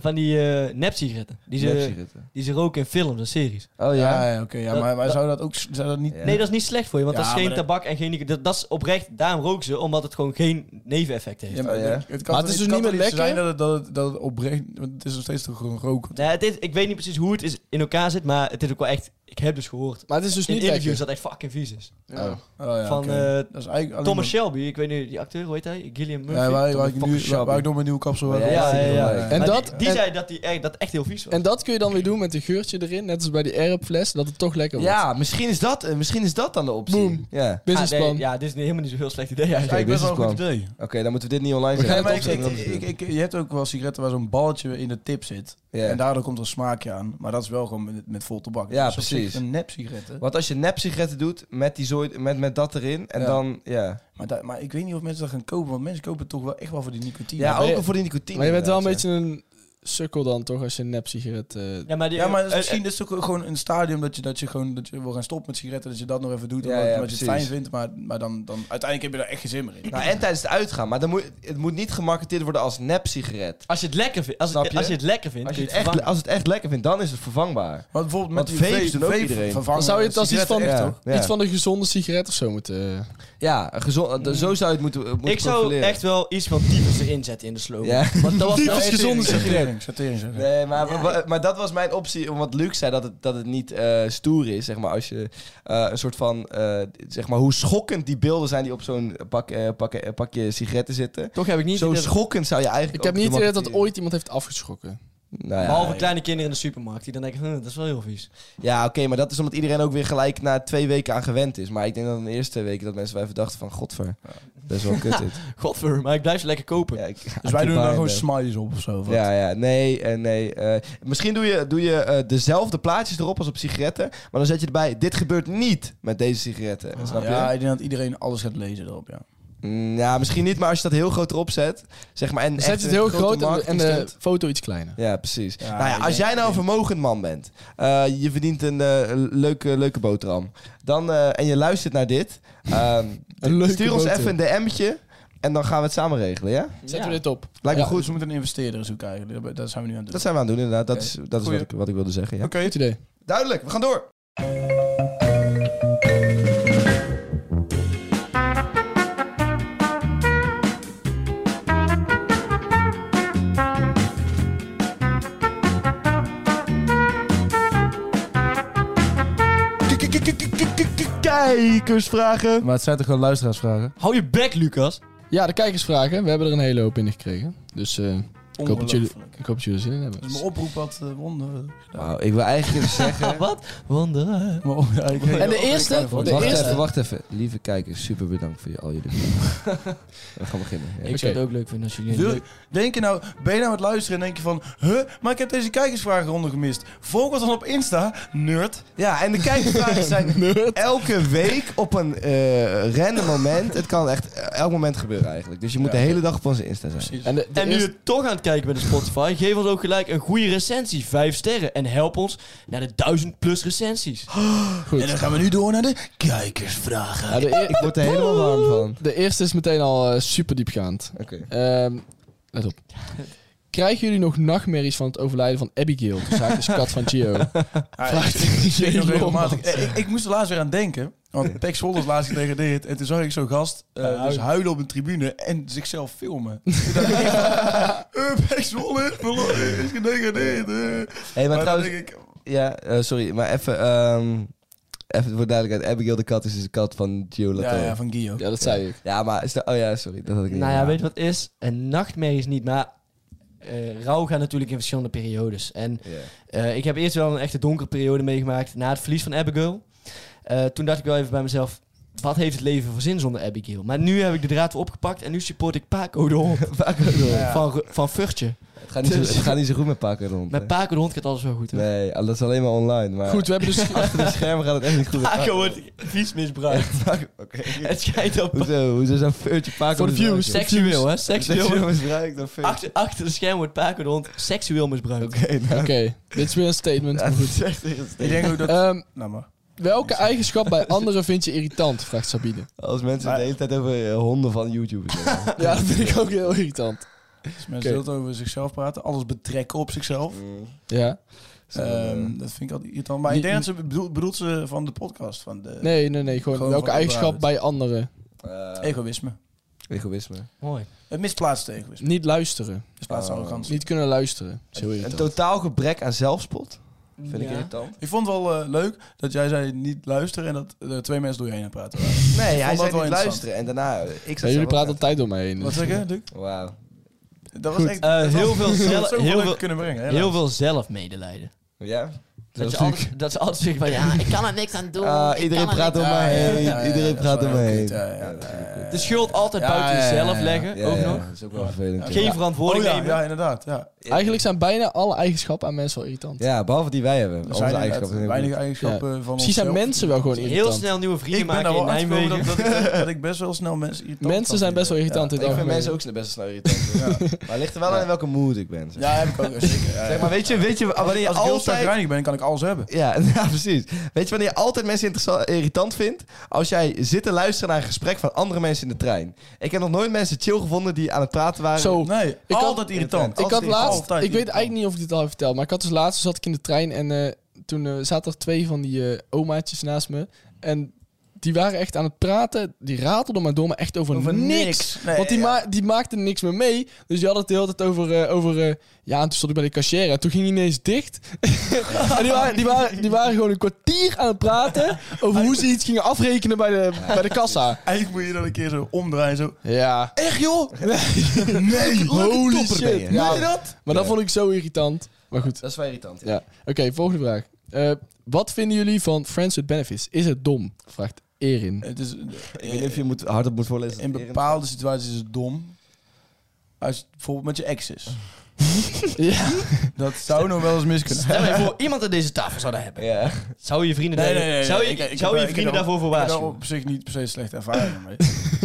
S4: van die eh, nepsigaretten. Die ze,
S2: Nepsigaretten.
S4: die ze roken in films en series.
S2: Oh ja.
S5: Ja, ja oké. ja,
S4: Dat-
S5: maar, maar
S4: dat-
S5: zou dat ook zou dat niet...
S2: Ja.
S4: Nee, dat is niet slecht voor je, want
S5: Ja,
S4: dat is geen
S5: maar dat-
S4: tabak en geen... Dat, dat is oprecht, daarom roken ze, omdat het gewoon geen neveneffect heeft.
S5: Ja, maar
S2: Oh, ja.
S5: Het kan,
S3: Maar het is dus
S5: kan
S3: niet meer
S5: toch zo
S3: lekker?
S5: zijn dat het, dat het, dat het oprecht... Want het is nog steeds toch gewoon roken.
S4: Nou, het is, ik weet niet precies hoe het is in elkaar zit, maar het is ook wel echt... Ik heb dus gehoord
S3: Maar het is dus
S4: in
S3: niet
S4: interviews
S3: lekker.
S4: dat echt fucking vies is.
S3: Ja.
S5: Oh, ja,
S4: van
S5: oké.
S4: eh,
S5: dat is eigenlijk alleen
S4: Thomas
S5: maar-
S4: Shelby, ik weet niet, die acteur, hoe heet hij? Gilliam Murphy?
S5: Ja, waar, waar,
S4: Thomas
S5: ik
S4: fucking
S5: nu, waar, waar ik door mijn nieuwe kapsel
S2: Ja,
S5: heb.
S4: ja, ja, ja.
S2: En
S4: Maar
S3: En dat,
S4: die, die
S3: en-
S4: zei dat, die echt, dat echt heel vies was. Ah,
S3: En dat kun je dan weer doen met een geurtje erin, net als bij die Airfles, dat het toch lekker wordt.
S2: Ja, misschien is, dat, eh, misschien is dat dan de optie.
S3: Boom.
S2: Ja.
S4: Ah, nee,
S3: Businessplan.
S4: ja, dit is helemaal niet zo'n heel slecht idee
S5: Dat is
S4: eigenlijk.
S5: eigenlijk best wel een goed
S2: businessplan.
S5: idee.
S2: Oké, dan moeten we dit niet online
S3: We gaan
S2: zetten.
S5: maar
S3: het
S5: ik, ik, ik, ik- je hebt ook wel sigaretten waar zo'n balletje in de tip zit.
S2: Ja.
S5: En daardoor komt er een smaakje aan. Maar dat is wel gewoon met, met vol tabak.
S2: Ja,
S5: Dat is op zich
S2: precies.
S5: Een nep sigaretten.
S2: Want als je nepsigaretten doet met, die zooi, met, met dat erin en
S5: Ja.
S2: dan... Ja,
S5: Maar, da- maar ik weet niet of mensen dat gaan kopen. Want mensen kopen het toch wel echt wel voor die nicotine.
S2: ja
S3: maar
S2: ook
S3: je-
S2: al voor die nicotine.
S3: Maar je bent wel een
S2: inderdaad,
S3: beetje een sukkel dan toch als je een nep sigaret... eh,
S4: Ja, maar, die,
S5: Ja, maar dat is
S4: eh,
S5: misschien is het ook gewoon een stadium dat je, dat je gewoon dat je wil gaan stoppen met sigaretten. Dat je dat nog even doet,
S2: Ja,
S5: omdat,
S2: ja,
S5: omdat je het fijn
S2: precies.
S5: vindt. Maar, maar dan, dan uiteindelijk heb je daar echt geen zin meer in.
S2: Nou, en tijdens het uitgaan. Maar dan moet, het moet niet gemarketeerd worden als nep-sigaret.
S4: eh, als je het lekker vindt, als,
S2: Snap
S4: het,
S2: je?
S4: als je het lekker vindt,
S2: Als je
S4: kun
S2: het
S4: je
S2: echt,
S4: het vervangen.
S2: als het echt lekker vindt, dan is het vervangbare.
S5: Want bijvoorbeeld
S2: Want
S5: met die
S2: vapes
S5: vape,
S2: doen ook
S5: vape
S2: iedereen.
S5: vervangen
S3: Dan zou je het als iets van,
S5: sigaretten echt,
S2: Ja.
S5: hoor.
S2: Ja.
S3: iets van een gezonde sigaret of zo moeten... eh,
S2: Ja, een gezond, eh, zo zou je het moeten, eh, moeten
S4: Ik zou
S2: profileren.
S4: echt wel iets van types erin zetten in de slogan.
S2: Ja.
S4: Want dat was wel
S3: Types
S4: echt-
S3: gezonde sigaret.
S5: Sortering, sortering, zeg.
S2: Nee, maar, maar, maar dat was mijn optie. Omdat Luc zei dat het, dat het niet eh, stoer is. Zeg maar als je eh, een soort van. eh, zeg maar hoe schokkend die beelden zijn die op zo'n pak, eh, pak, eh, pakje sigaretten zitten.
S4: Toch heb ik niet...
S2: Zo
S4: het idee dat-
S2: schokkend zou je eigenlijk.
S3: Ik heb
S2: ook
S3: niet het idee dat
S2: de
S3: dat ooit iemand heeft afgeschrokken.
S2: marketing- Nou ja,
S4: Behalve kleine kinderen in de supermarkt, die dan denken, hm, dat is wel heel vies.
S2: ja oké, maar dat is omdat iedereen ook weer gelijk na twee weken aan gewend is. Maar ik denk dat in de eerste weken dat mensen wel even dachten: van godver, dat is wel kut dit.
S4: Godver, maar ik blijf ze lekker kopen.
S2: Ja, ik-
S5: Dus wij doen daar
S2: Combine,
S5: gewoon
S2: eh.
S5: smileys op of zo. of wat?
S2: Ja, ja, nee, eh, nee. eh, misschien doe je, doe je eh, dezelfde plaatjes erop als op sigaretten, maar dan zet je erbij, dit gebeurt niet met deze sigaretten. Snap je?
S5: Ah, Ja, ik denk dat iedereen alles gaat lezen erop, ja.
S2: Mm, ja, misschien niet, maar als je dat heel groot erop zet, zeg maar... En
S3: Dan
S2: echt
S3: zet je het
S2: een
S3: heel
S2: grote
S3: groot en de- en de,
S2: marketingstunt.
S3: foto iets kleiner.
S2: Ja, precies.
S5: Ja,
S2: nou ja,
S5: ik
S2: als
S5: denk-
S2: jij nou een
S5: ik denk-
S2: vermogend man bent, eh, je verdient een eh, leuke, leuke boterham, dan, eh, en je luistert naar dit, ehm,
S3: Een leuke
S2: stuur ons
S3: boter.
S2: even een DM'tje en dan gaan we het samen regelen, ja?
S3: Zetten we dit op.
S2: Lijkt me
S5: Ja,
S2: goed.
S5: Dus we moeten een investeerder zoeken eigenlijk. Dat- Dat zijn we nu aan het
S2: Dat
S5: doen.
S2: zijn we aan het doen, inderdaad. Dat is, dat is wat,
S5: Goeie.
S2: ik, wat ik wilde zeggen, ja.
S3: Oké. Goed idee.
S2: Duidelijk, we gaan door. Kijkersvragen.
S5: Maar het zijn toch gewoon luisteraarsvragen?
S4: Hou je bek, Lucas.
S3: Ja, de kijkersvragen. We hebben er een hele hoop in gekregen. Dus eh, ik, hoop dat jullie,
S5: Ongelooflijk.
S3: ik hoop dat jullie er zin in hebben.
S5: Dat is mijn oproep wat eh, Ron... eh,
S2: Nou, ik wil eigenlijk even zeggen...
S4: Wonder.
S5: Maar oh, ja, ik weet-
S3: En de eerste?
S5: Ik weet-
S3: De
S2: wacht
S3: eerste?
S2: even, wacht even. Lieve kijkers, super bedankt voor je- al jullie vragen. We gaan beginnen. ja.
S4: Ik zou het ook leuk vinden als jullie... een
S5: Wil-
S4: leuk-
S5: Denk je nou, ben je nou aan het luisteren en denk je van... Huh, maar ik heb deze kijkersvragenronde gemist. Volg ons dan op Insta, nerd.
S2: Ja, en de kijkersvragen zijn elke week op een eh, random moment. Het kan echt eh, elk moment gebeuren eigenlijk. Dus je moet de hele dag op onze Insta zijn.
S3: En, de, de
S4: En nu
S3: eerste-
S4: je toch aan het kijken bent op Spotify, geef ons ook gelijk een goede recensie. Vijf sterren. En help ons naar de duizend plus recensies.
S5: En dan gaan we nu door naar de kijkersvragen.
S3: ja, de, eer-
S2: Ik word er helemaal warm van.
S3: de eerste is meteen al eh, super diepgaand.
S2: Oké.
S3: Ehm, let op. Krijgen jullie nog nachtmerries van het overlijden van Abigail? De zaak is kat van Gio. Vraagt
S5: Ik,
S3: Jay
S5: nog regelmatig-
S3: Lommel.
S5: Eh, ik, ik moest er laatst weer aan denken. Want Tex Zwolle is laatst gedegradeerd. En toen zag ik zo'n gast eh, dus huilen op een tribune en zichzelf filmen. Toen dacht ik, eh, Pek Zwolle is verlo- is gedegradeerd. eh.
S2: Hey, maar
S5: Maar dan
S2: trouwens...
S5: denk ik,
S2: Ja, eh, sorry. Maar even... ehm, even voor duidelijkheid. Abigail de kat is dus de kat van Gio
S5: ja,
S2: Lotto. Ja,
S5: ja, van Guillaume.
S3: Ja, dat zei ik.
S2: maar... is de- Oh ja, sorry. Dat had ik niet.
S4: Nou ja, weet je wat het is? Een nachtmerrie is niet, maar eh, rouw gaat natuurlijk in verschillende periodes. En
S2: Ja.
S4: eh, ik heb eerst wel een echte donkere periode meegemaakt na het verlies van Abigail. Eh, toen dacht ik wel even bij mezelf, wat heeft het leven voor zin zonder Abigail? Maar nu heb ik de draad weer opgepakt en nu support ik Paco de hond. Paco de hond. Van, Ru- van Furtje.
S2: Het, gaat niet zo, het gaat niet zo goed met Paken rond.
S4: Met
S2: hè?
S4: Paco de hond gaat alles wel goed. hè?
S2: Nee, dat is alleen maar online. Maar
S3: Goed, we hebben dus...
S2: achter de schermen gaat het echt niet goed. met
S4: Paco wordt vies misbruikt.
S2: Paco- Oké.
S4: Het schijnt op
S2: Hoezo? Hoezo zou Furtje Paco
S3: Voor de
S2: misbruiken?
S3: views.
S4: seksueel, hè? Seksueel.
S2: Seksueel misbruikt door Furtje.
S4: Achter, achter de scherm wordt Paco de hond seksueel misbruikt.
S2: Oké, nou,
S3: Oké, dit is weer een statement.
S2: ja,
S3: maar
S2: dat
S3: goed.
S2: is echt irritant.
S5: Ik denk ook dat...
S3: Ehm,
S5: Nou maar.
S3: welke eigenschap bij anderen vind je irritant? Vraagt Sabine.
S2: Als mensen het de hele tijd over eh, honden van YouTubers hebben.
S3: Ja, dat vind ik ook heel irritant.
S5: Als mensen heel veel over zichzelf praten, alles betrekken op zichzelf.
S3: Ja.
S2: Zo,
S5: Ehm,
S2: eh,
S5: dat vind ik altijd irritant. Maar ik
S3: Niet-
S5: denk dat ze bedoelt, bedoelt ze van de podcast, van de
S3: Nee, nee, nee. Gewoon,
S5: Gewoon
S3: welke
S5: van
S3: eigenschap
S5: überhaupt.
S3: bij anderen?
S2: eh,
S5: egoïsme.
S2: egoïsme.
S4: Mooi.
S5: Het misplaatste egoïsme.
S3: Niet luisteren.
S5: Misplaatste arrogantie.
S3: Niet kunnen luisteren. Dat is heel
S2: Een
S3: irritant.
S2: totaal gebrek aan zelfspot. Vind ik
S4: Ja.
S2: irritant.
S5: Ik vond het wel eh, leuk dat jij zei niet luisteren en dat er twee mensen door je heen aan het praten waren.
S2: Nee, hij zei
S5: dat wel
S2: niet
S5: interessant.
S2: luisteren. En daarna... eh, Ik
S3: Ja,
S2: zat
S3: jullie
S2: zelf ook
S3: praten altijd door mij heen. dus-
S5: Wat zeg je, Luc?
S2: uit. Wauw.
S5: Dat was
S3: Goed.
S5: echt...
S4: Eh,
S5: dat was-
S4: heel veel
S5: dat had
S4: zelf-
S5: zoveel
S4: heel
S5: leuk
S4: veel-
S5: kunnen brengen.
S4: Heel veel zelfmedelijden.
S2: Ja?
S4: Dat,
S2: is
S4: je
S2: natuurlijk-
S4: altijd, dat ze altijd zeggen van, ja, ik kan er niks aan doen.
S2: Ah,
S4: ik
S2: iedereen
S4: kan er
S2: praat om
S4: niks
S2: mij
S4: aan doen.
S2: heen.
S5: Ja, ja,
S2: iedereen
S5: dat is
S2: praat
S5: wel
S2: om
S5: heel
S2: mij heen.
S5: kut, ja, ja, ja, ja, ja.
S4: De schuld altijd
S5: Ja,
S4: buiten
S5: ja, ja,
S4: jezelf
S5: ja.
S4: leggen,
S2: Ja,
S4: ook
S2: ja,
S4: nog.
S2: Dat is ook wel vervelend.
S5: Ja.
S2: ja.
S4: Geen verantwoording
S5: Oh ja,
S4: nemen.
S5: ja, inderdaad. Ja.
S3: Eigenlijk zijn bijna alle eigenschappen aan mensen wel irritant.
S2: Ja, behalve die wij hebben.
S5: Er
S2: Onze
S5: zijn
S2: eigenschappen.
S5: inderdaad
S2: zijn
S5: weinig
S2: heel
S5: eigenschappen van ons.
S3: Misschien zijn mensen wel gewoon irritant.
S4: Heel snel nieuwe vrienden
S5: Ik ben
S4: maken
S5: er
S4: in
S5: wel uitgekomen dat,
S4: Nijmegen.
S5: dat, ik- eh, dat ik best wel snel mensen irritant
S3: Mensen
S5: kan
S3: zijn best wel
S5: vinden.
S3: irritant in
S2: goed.
S3: het
S2: Ik vind mensen
S3: algemeen.
S2: ook best wel snel irritant. Maar het ligt er wel aan in welke mood ik ben. zeg.
S5: Ja, heb ik ook. Zeker. Ja, ja.
S2: Zeg maar, weet je, weet je
S5: Als,
S2: Ah, wanneer
S5: ik-
S2: je
S5: als ik heel
S2: altijd...
S5: chagrijnig ben, kan ik alles hebben.
S2: Ja, ja, precies. Weet je wanneer je altijd mensen interessa- irritant vindt? Als jij zit te luisteren naar een gesprek van andere mensen in de trein. Ik heb nog nooit mensen chill gevonden die aan het praten waren.
S3: Zo,
S5: Nee,
S3: Ik had-
S5: nou, altijd irritant.
S3: Ik had
S2: Altijd
S3: laatst,
S5: irritant.
S3: ik weet eigenlijk niet of ik dit al heb verteld, maar ik had dus laatst zat ik in de trein en eh, toen eh, zaten er twee van die eh, omaatjes naast me en die waren echt aan het praten, die ratelden maar door, maar echt over,
S5: Over
S3: niks.
S5: niks. Nee, e-
S3: Want die,
S5: ja.
S3: ma- die maakten niks meer mee, dus die hadden het de hele tijd over, eh, over eh, ja, en toen stond ik bij de cashier en toen ging hij ineens dicht. en die waren, die, waren, die waren gewoon een kwartier aan het praten over hoe ze iets gingen afrekenen bij de, bij de kassa.
S5: Eigenlijk moet je dan een keer zo omdraaien. Zo.
S3: Ja.
S5: Echt joh? Nee.
S3: Holy
S2: topper ben je.
S3: shit. Ja, maar dat vond ik zo irritant. Maar goed.
S2: Dat is wel irritant.
S3: Ja. Oké, volgende vraag. Eh, wat vinden jullie van Friends with Benefits? Is het dom? Vraagt Erin.
S5: Het is,
S2: Ik weet niet of je moet, hardop moet voorlezen.
S5: in bepaalde situaties is het dom. Als het bijvoorbeeld met je ex is.
S3: ja.
S5: Dat zou nog wel eens mis kunnen.
S4: Stel je voor, iemand aan deze tafel zouden hebben.
S2: Ja.
S4: Zou je vrienden, daar- zou je,
S5: Ik- ik- ik
S4: zou
S5: heb-
S4: je
S5: ik heb
S4: vrienden daarvoor voor
S5: Ik heb daar
S4: waarschuwen?
S5: op zich niet per se slecht ervaring mee.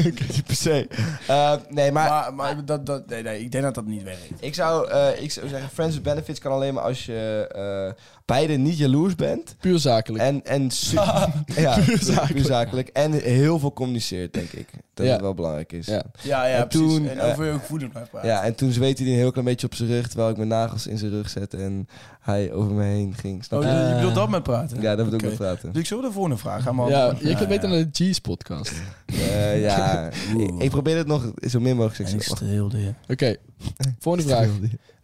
S2: Niet per se. Eh, nee, maar,
S5: Maar, maar dat, dat, nee, nee, ik denk dat dat niet werkt.
S2: ik, zou, eh, ik zou zeggen, friends with benefits kan alleen maar als je eh beide niet jaloers bent.
S3: Puur zakelijk.
S2: En, en su- ja, puur
S3: zakelijk.
S2: puur zakelijk. En heel veel communiceert, denk ik. Dat
S3: Ja.
S2: het wel belangrijk is.
S3: Ja.
S5: Ja, ja,
S2: En
S5: precies.
S2: toen,
S5: en
S2: eh,
S5: over je gevoelens blijft praten. Oh,
S2: Ja, en toen zweette hij een heel klein beetje op zijn rug, terwijl ik mijn nagels in zijn rug zette en hij over me heen ging. Snap
S5: Oh,
S2: je?
S5: je, je
S4: Eh.
S5: bedoelt dat met praten?
S2: ja, daar moet ik
S5: Oké.
S2: mee praten.
S5: Doe ik zo de volgende vraag? Ga maar
S3: ja,
S5: op.
S3: je kunt beter naar de G's podcast. Oké,
S2: Eh, ja, ik, ik probeer het nog zo min mogelijk
S5: En ik
S2: seksueel.
S5: streelde je.
S3: volgende vraag.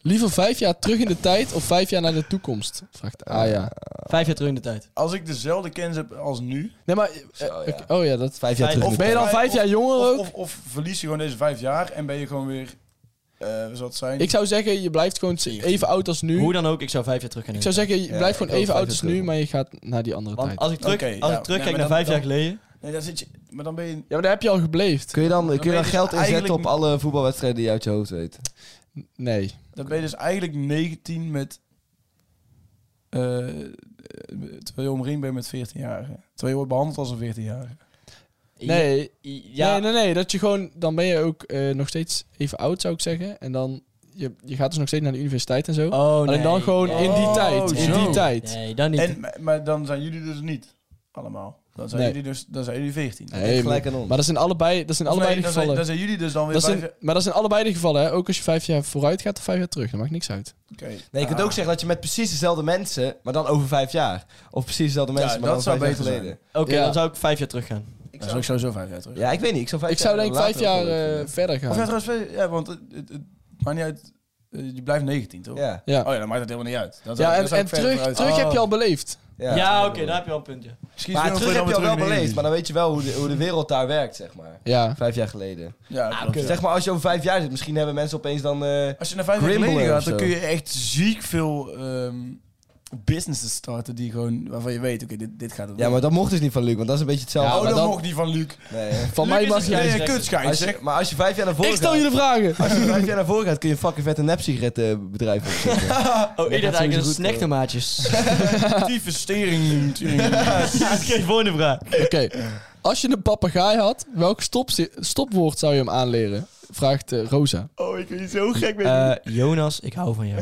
S3: Liever vijf jaar terug in de tijd of vijf jaar naar de toekomst? Vraagt
S2: Ah,
S3: Aya.
S2: Eh,
S4: Vijf jaar terug in de tijd.
S5: Als ik dezelfde kennis heb als nu...
S3: Nee, maar... eh,
S2: Zo, ja.
S3: oké, oh ja, dat...
S2: Vijf jaar
S4: Vijf-
S2: terug.
S5: of-
S3: Ben je dan
S5: Of-
S3: vijf jaar jonger
S5: Of,
S3: ook?
S5: of, of verlies je gewoon deze vijf jaar en ben je gewoon weer... eh wat zal het zijn?
S3: Ik zou zeggen, je blijft gewoon even oud als nu.
S4: Hoe dan ook, ik zou vijf jaar terug gaan
S3: Ik
S4: in
S3: zou
S4: de tijd.
S3: zeggen, je
S2: Ja,
S3: blijft
S2: ik
S3: gewoon
S2: ook
S3: even
S2: vijf
S3: oud als
S2: jaar
S3: nu,
S2: terug.
S3: maar je gaat naar die andere tijd.
S4: Want als ik, terug,
S5: Oké,
S4: als
S5: ja.
S4: ik terugkijk
S5: Nee,
S4: naar
S5: maar
S4: vijf
S5: dan-
S4: jaar geleden...
S5: Nee, dan zit je... Maar dan ben je...
S3: Ja, maar daar heb je al gebleefd.
S2: Kun je dan, kun
S5: Dan
S2: je
S5: ben
S2: dan
S5: je
S2: geld
S5: dus
S2: inzetten op
S5: eigenlijk-
S2: alle voetbalwedstrijden die je uit je hoofd weet?
S3: Nee.
S5: Dan ben je dus eigenlijk 19 met... eh, terwijl je omringd bent met 14-jarigen. Terwijl je wordt behandeld als een 14-jarige.
S3: Nee,
S4: Ja,
S3: Nee, nee, nee. Dat je gewoon, dan ben je ook eh, nog steeds even oud, zou ik zeggen. En dan, je, je gaat dus nog steeds naar de universiteit en zo.
S4: Oh,
S3: Alleen dan gewoon in die
S5: Oh,
S3: tijd. In
S5: zo.
S3: die tijd.
S4: Nee, dan niet.
S5: En, maar- maar dan zijn jullie dus niet allemaal. Dan zijn,
S3: Nee.
S5: jullie, dus, dan zijn jullie 14.
S3: Nee,
S2: Denk
S3: maar,
S2: gelijk aan ons.
S3: maar dat zijn allebei, dat zijn
S5: Of
S3: allebei
S5: nee,
S3: de
S5: dan, zijn,
S3: gevallen.
S5: dan zijn jullie dus dan weer
S3: Dat zijn,
S5: vijf jaar-
S3: maar dat zijn allebei de gevallen, hè? Ook als je vijf jaar vooruit gaat of vijf jaar terug. Dat maakt niks uit.
S5: Oké.
S2: Nee, je kunt
S5: Ah.
S2: ook zeggen dat je met precies dezelfde mensen, maar dan over vijf jaar. Of precies dezelfde mensen, maar dan
S5: dat zou
S2: vijf
S5: beter
S2: jaar
S5: zijn.
S2: geleden.
S4: Oké,
S3: Ja.
S4: dan zou ik vijf jaar terug gaan.
S5: Dat is ook sowieso vijf jaar terug.
S2: Ja, ik weet niet. Ik zou vijf
S3: ik zou
S2: jaar
S3: denk ik vijf
S2: later ook
S3: jaar
S2: wel leuk
S3: eh, verder
S5: Of ja,
S3: gaan.
S5: trouwens, vijf- ja, want het, het, het maakt niet uit. Eh, je blijft 19, toch?
S2: vinden. Ja,
S3: Ja,
S5: Oh ja, dan maakt het helemaal niet uit. Dan zou-
S3: ja
S5: dan
S3: en,
S5: zou ik
S3: en
S5: verder
S3: terug,
S5: Oh. vooruit-
S3: terug
S5: Oh.
S3: heb je al beleefd.
S4: Ja,
S2: ja.
S4: oké, daar heb je al een puntje.
S5: Excuse me,
S2: Maar
S5: of
S2: terug
S5: dan
S2: heb je al
S5: weer
S2: wel
S5: terug
S2: beleefd, maar dan weet je wel hoe de, hoe de wereld daar werkt, zeg maar.
S3: Ja.
S2: Vijf jaar geleden.
S5: Ja, klopt.
S4: oké.
S5: Ja.
S2: Zeg maar, Ah, als je over vijf jaar zit, misschien hebben mensen opeens dan... eh,
S5: Als je naar vijf jaar
S2: Grimbler
S5: geleden
S2: of
S5: gaat,
S2: zo.
S5: dan kun je echt ziek veel ehm, businesses starten die gewoon, waarvan je weet, oké, dit, dit gaat het
S2: Ja, maar dat mocht dus niet van Luc, want dat is een beetje
S5: worden.
S2: hetzelfde.
S5: oh,
S3: maar
S5: dat
S3: dan-
S5: mocht niet van Luc.
S2: Nee, hè.
S3: Van
S4: Luc
S3: mij
S4: is
S3: mag
S4: een
S3: jij.
S4: grijs-
S5: Nee,
S4: zeg-
S5: kutschijn,
S2: Als je-
S5: zeg.
S2: maar als je vijf jaar naar voren
S3: Ik stel je de
S2: gaat,
S3: vragen.
S2: als je vijf jaar naar voren gaat, kun je een fucking vette nepsigarettenbedrijf opzetten.
S4: Oh, ik
S2: gaat
S4: dacht eigenlijk een
S2: sowieso goed
S4: snechtenmaatjes.
S5: Actieve stering.
S4: Geen volgende vraag.
S3: Oké. Als je een papegaai had, welk stop, stopwoord zou je hem aanleren? Vraagt eh, Rosa.
S5: Oh, ik ben zo gek met
S4: Eh, Jonas, ik hou van jou.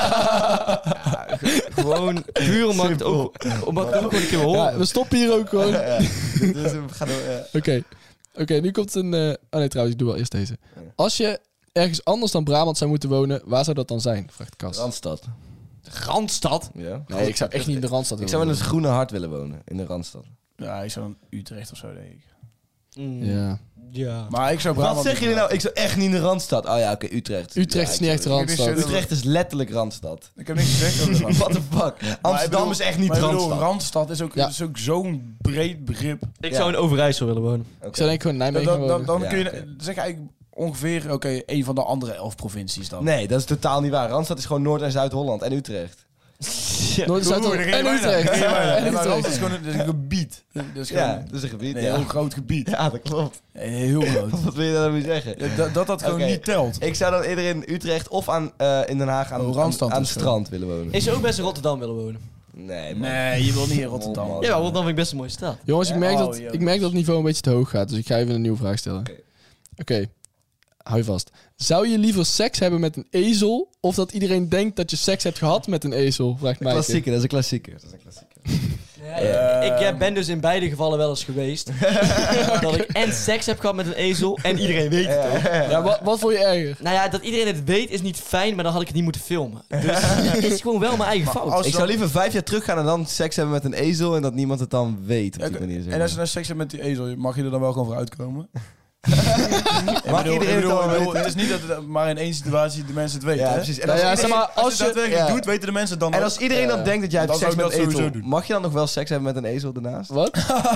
S4: Ja, ge- gewoon puur omdat ik het ook, omdat ik het ook gewoon een keer wil
S2: Oh.
S3: Ja,
S4: horen.
S3: we stoppen hier ook gewoon. Oké.
S2: dus we gaan door, ja.
S3: Oké, nu komt een... eh, Oh nee, trouwens, ik doe wel eerst deze. Als je ergens anders dan Brabant zou moeten wonen, waar zou dat dan zijn? Vraagt Cas.
S2: Randstad.
S4: Randstad.
S2: Ja. Eh,
S3: Nee, ik zou echt niet in de Randstad
S2: Ik
S3: willen
S2: zou in het
S3: wonen.
S2: groene hart willen wonen, in de Randstad.
S5: Ja, ik zou dan Utrecht of zo, denk ik.
S4: Mm,
S3: Ja.
S4: ja.
S5: Maar ik zou
S2: Wat zeggen jullie nou? Ik zou echt niet in de Randstad. Oh ja, oké, Utrecht.
S3: Utrecht
S2: Ja,
S3: is
S2: ik
S3: niet
S2: zou-
S3: echt
S5: ik- ik-
S3: Randstad.
S5: ik-
S2: Utrecht is letterlijk Randstad.
S5: Ik heb niks gezegd over de Randstad.
S2: What the fuck?
S5: Maar ik
S2: Amsterdam
S5: bedoel-
S2: is echt niet
S5: maar ik bedoel,
S2: Randstad.
S5: Randstad is ook,
S3: Ja.
S5: is ook zo'n breed begrip.
S4: Ik
S2: Ja.
S4: zou in Overijssel willen wonen.
S3: Ik zou denk ik gewoon
S5: Dan,
S3: Nijmegen
S5: dan,
S3: wonen.
S5: dan,
S2: Ja,
S5: dan kun je
S2: oké.
S5: zeg eigenlijk ongeveer oké, een van de andere elf provincies dan.
S2: Nee, dat is totaal niet waar. Randstad is gewoon Noord- en Zuid-Holland en Utrecht.
S4: Ja.
S3: Noord- en Zuid-Holland
S5: Oeh, daar ging
S3: en
S5: je bijna. Daar
S3: Utrecht.
S5: ging je bijna.
S3: En
S5: Nee, maar
S3: Utrecht.
S5: Rand is gewoon een, dat is een gebied. Dat is
S2: Ja,
S5: gewoon
S2: dat is een gebied.
S5: een
S2: ja.
S5: heel groot gebied.
S2: Ja, dat klopt.
S5: Een heel groot.
S2: Wat wil je daar nou mee zeggen?
S5: Ja, dat, dat dat gewoon
S2: Oké.
S5: niet telt.
S2: Ik zou dan eerder in Utrecht of aan, eh, in Den Haag aan,
S5: Oh,
S2: aan,
S5: Randstad
S2: aan het
S5: of zo.
S2: strand willen wonen.
S4: Ik zou ook best in Rotterdam willen wonen.
S2: Nee, man.
S5: Nee, je wil niet in Rotterdam.
S2: Oh, man.
S4: Ja, maar Rotterdam vind ik best een mooie stad.
S3: Jongens, ik merk,
S5: Oh,
S3: dat,
S5: jongens.
S3: ik merk dat het niveau een beetje te hoog gaat. Dus ik ga even een nieuwe vraag stellen. Oké,
S2: Oké.
S3: hou je vast. Zou je liever seks hebben met een ezel... of dat iedereen denkt dat je seks hebt gehad met een ezel? Vraagt mij.
S2: Klassieker, dat is een klassieker. Dat is een klassieker.
S4: Ja, ik eh, ben dus in beide gevallen wel eens geweest. dat ik en seks heb gehad met een ezel en iedereen weet het. ook.
S3: Ja, wat, wat vond je erger?
S4: Nou ja, dat iedereen het weet is niet fijn, maar dan had ik het niet moeten filmen. Dus het is gewoon wel mijn eigen fout.
S5: als-
S2: Ik zou liever vijf jaar terug gaan en dan seks hebben met een ezel en dat niemand het dan weet op
S5: Ja,
S2: die manier. Zeg
S5: En
S2: maar.
S5: als je nou seks hebt met die ezel, mag je er dan wel gewoon voor uitkomen?
S2: Mag
S5: Ik bedoel-
S2: iedereen
S5: ik bedoel,
S2: het dan
S5: ik bedoel,
S2: weten?
S5: Het is niet dat het maar in één situatie de mensen het weten.
S2: Ja,
S5: hè?
S2: precies. En
S3: Nou
S2: als,
S3: ja,
S2: iedereen,
S3: zeg maar, als
S5: Als, je het
S3: je...
S5: daadwerkelijk
S2: ja.
S5: doet, weten de mensen het dan
S2: en
S5: ook.
S2: als iedereen dan
S5: Ja.
S2: denkt dat jij hebt
S5: Dan zou
S2: seks
S5: ik
S2: met
S5: dat sowieso
S2: ezel,
S5: doen.
S2: mag je dan nog wel seks hebben met een ezel daarnaast?
S3: Wat?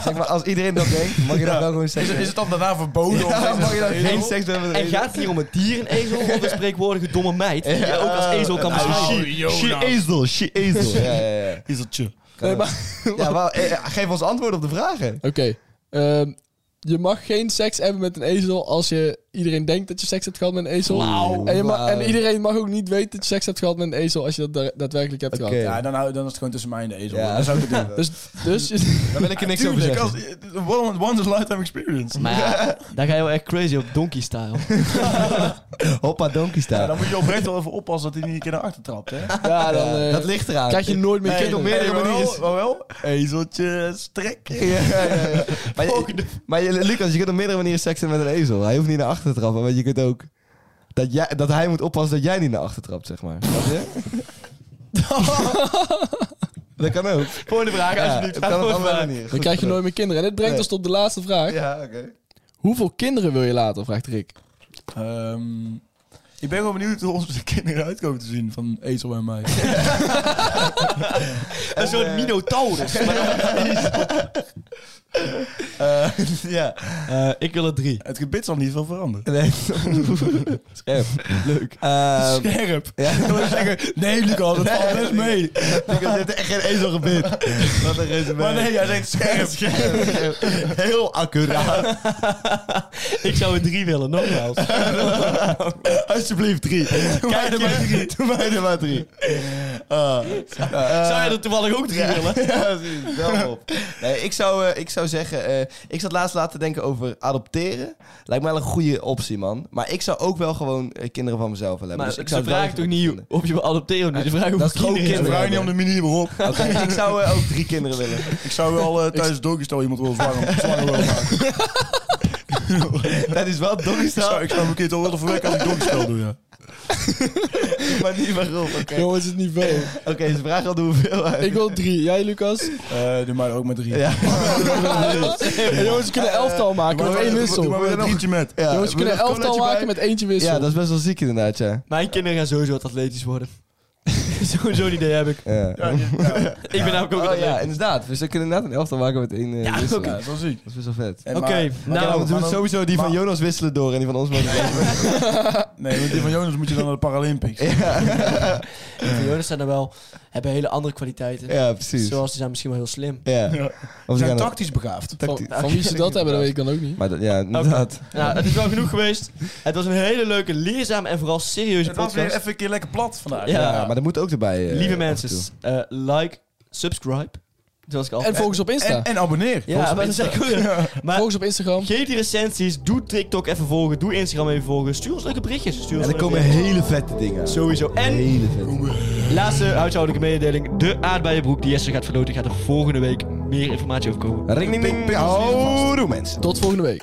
S2: Zeg maar, als iedereen dat denkt, mag je dan wel gewoon seks
S5: Is, het-
S2: hebben?
S5: is het dan daarna verboden? om
S2: Ja,
S5: seks
S2: mag je dan
S5: te hebben?
S2: geen seks hebben met een
S4: En
S2: ezel?
S4: gaat het hier om het dier, een ezel, of een spreekwoordige domme meid die je ook als ezel
S2: Nou,
S4: kan beschrijven?
S5: Oh, Jona.
S2: ezel, she ezel. Ja, ja, ja.
S5: Ezeltje.
S3: Nee, maar...
S2: Ja, maar, eh, geef ons antwoord op de vragen.
S3: Oké. ehm, je mag geen seks hebben met een ezel als je iedereen denkt dat je seks hebt gehad met een ezel.
S2: Wauw.
S3: En, je ma- en
S2: Wauw.
S3: iedereen mag ook niet weten dat je seks hebt gehad met een ezel als je dat da- daadwerkelijk hebt
S2: Oké.
S3: gehad.
S5: Ja, dan, hou- dan is het gewoon tussen mij en de ezel.
S2: Ja.
S5: Dat zou ik het doen.
S3: Dus, dus je-
S2: Daar wil ik er niks over
S5: Tuurlijk,
S2: zeggen.
S5: als, eh, one- once in a lifetime experience.
S4: Maar ja, daar ga je wel echt crazy op donkey style.
S2: Hoppa, donkey staan.
S5: Ja, dan moet je oprecht wel even oppassen dat hij niet een keer naar achter trapt. Hè?
S3: ja, dan eh,
S2: dat ligt eraan.
S3: krijg je nooit meer
S2: Nee,
S3: kinderen.
S2: op meerdere
S5: maar wel-
S2: manieren.
S5: maar wel, ezeltje strekken.
S2: Ja, ja, ja, ja. Maar, je, maar je- Lucas, je kunt op meerdere manieren seksen met een ezel. Hij hoeft niet naar achter te trappen, want je kunt ook... Dat, jij, dat hij moet oppassen dat jij niet naar achter trapt, zeg maar. Snap je? dat kan ook.
S4: Volgende vraag,
S2: Ja,
S4: alsjeblieft.
S2: het
S4: Ga
S2: kan op
S4: voor
S2: andere
S4: vragen.
S2: manieren.
S3: Dan krijg je nooit meer kinderen. En dit brengt
S2: Nee.
S3: ons tot de laatste vraag.
S2: Ja, oké.
S3: Hoeveel kinderen wil je later? Vraagt Rick.
S5: Ehm, ik ben gewoon benieuwd hoe onze kinderen uitkomen te zien van Ezel en mij.
S4: Een soort minotaurus.
S2: Eh, ja.
S4: Eh, ik wil er drie.
S5: Het gebit zal niet veel veranderen.
S2: Nee. Scherp. Leuk. Ehm,
S5: Scherp.
S2: ja.
S5: Ik wil zeggen, nee Lucas, het valt best mee.
S2: Lucas heeft echt geen ezelgebit. Wat een resume.
S5: Maar nee, jij zegt scherp.
S2: Heel accuraat.
S4: Ik zou er drie willen, nogmaals.
S2: Alsjeblieft, drie. Doe mij er maar drie. Doe mij er maar drie. Ah. Eh,
S4: Zou je er toevallig ook drie willen?
S2: ja, precies. Bel me op. Nee, ik, zou, eh, ik zou zeggen, eh, ik zat laatst laten denken over adopteren. Lijkt mij wel een goede optie, man. Maar ik zou ook wel gewoon eh, kinderen van mezelf willen hebben.
S4: Maar
S2: dus ik
S4: ze
S2: zou het wel
S4: vraagt toch
S2: even
S4: niet
S2: willen.
S4: of je wil adopteren of niet. Ze vragen hoeveel
S2: is gewoon
S4: kinderen je
S5: Ik
S4: hebt.
S2: kinderen.
S5: vraag niet om de manier waarop.
S2: Oké, ik zou eh, ook drie kinderen willen.
S5: Ik zou wel eh, tijdens Doggystal iemand willen zwanger, zwanger willen maken.
S2: Dat is wel
S5: Ik zou,
S2: doggystyle,
S5: ik zou mijn kind al willen verwekken als ik Doggystal doe, ja.
S2: maar niet waarom. Oké,
S3: Jongens, het niveau.
S2: Oké, ze vragen al de hoeveelheid.
S3: Ik wil drie. Jij, Lucas?
S5: Eh, doe maar ook met drie.
S2: Ja. Eh,
S3: En jongens, we kunnen elftal maken
S5: Doe
S3: met
S5: maar-
S3: één
S5: doe- Doe maar
S3: wissel.
S5: weer een drietje met.
S2: Ja,
S3: Jongens, we
S2: wil je
S3: kunnen
S2: nog een
S3: elftal
S2: colaatje bij?
S3: maken met eentje wissel.
S2: Ja, dat is best wel ziek inderdaad, ja.
S4: Mijn kinderen gaan sowieso wat atletisch worden. Sowieso een idee heb ik.
S2: Ja,
S5: Ja, ja, ja.
S4: Ik ben namelijk ook
S2: Oh,
S4: een
S2: ja
S4: atleet.
S2: inderdaad. Dus we kunnen inderdaad een elftal maken met één eh,
S4: Ja,
S2: wisselaar.
S4: oké.
S5: dat is wel ziek.
S2: Dat is best wel vet.
S5: Eh,
S4: Oké,
S5: maar-
S4: nou,
S2: Ja, we
S5: maar
S2: doen
S5: dan-
S2: sowieso die van
S5: maar-
S2: Jonas wisselen door en die van ons mogen
S5: Nee, want die van Jonas moet je dan naar de Paralympics.
S4: Die van Jonas zijn er wel, hebben hele andere kwaliteiten.
S2: Ja, precies.
S4: Zoals die zijn misschien wel heel slim.
S2: Ja.
S5: Ja.
S2: Of
S5: Ze
S2: ze
S5: zijn
S2: gaan
S5: tactisch begaafd.
S3: Van,
S2: tactisch.
S3: van wie ze dat hebben, dat weet ik dan ook niet.
S2: Maar dat, ja, inderdaad.
S4: Nou, het is wel genoeg geweest. Het was een hele leuke, leerzame en vooral serieuze
S5: Het was weer
S4: podcast.
S5: even een keer lekker plat vandaag.
S4: Ja.
S2: Ja, maar dat moet ook erbij. eh,
S4: Lieve
S2: af en
S4: mensen,
S2: toe.
S4: eh, like, subscribe. Zoals ik al.
S3: En volgens op Insta.
S5: En, en abonneer.
S4: ja, maar dat is echt goed. Maar
S3: Volgens op Instagram.
S4: geef die recensies, doe TikTok even volgen, doe Instagram even volgen. Stuur ons leuke berichtjes. Stuur ons
S2: En er
S4: leuke
S2: komen
S4: berichtjes.
S2: hele vette dingen. aan.
S4: Sowieso. En
S2: Hele vette dingen.
S4: laatste huishoudelijke mededeling. De aardbeienbroek die Jesse gaat verloten gaat er volgende week meer informatie over komen.
S2: Ring, ding, ding. Houdoe, mensen.
S3: Tot volgende week.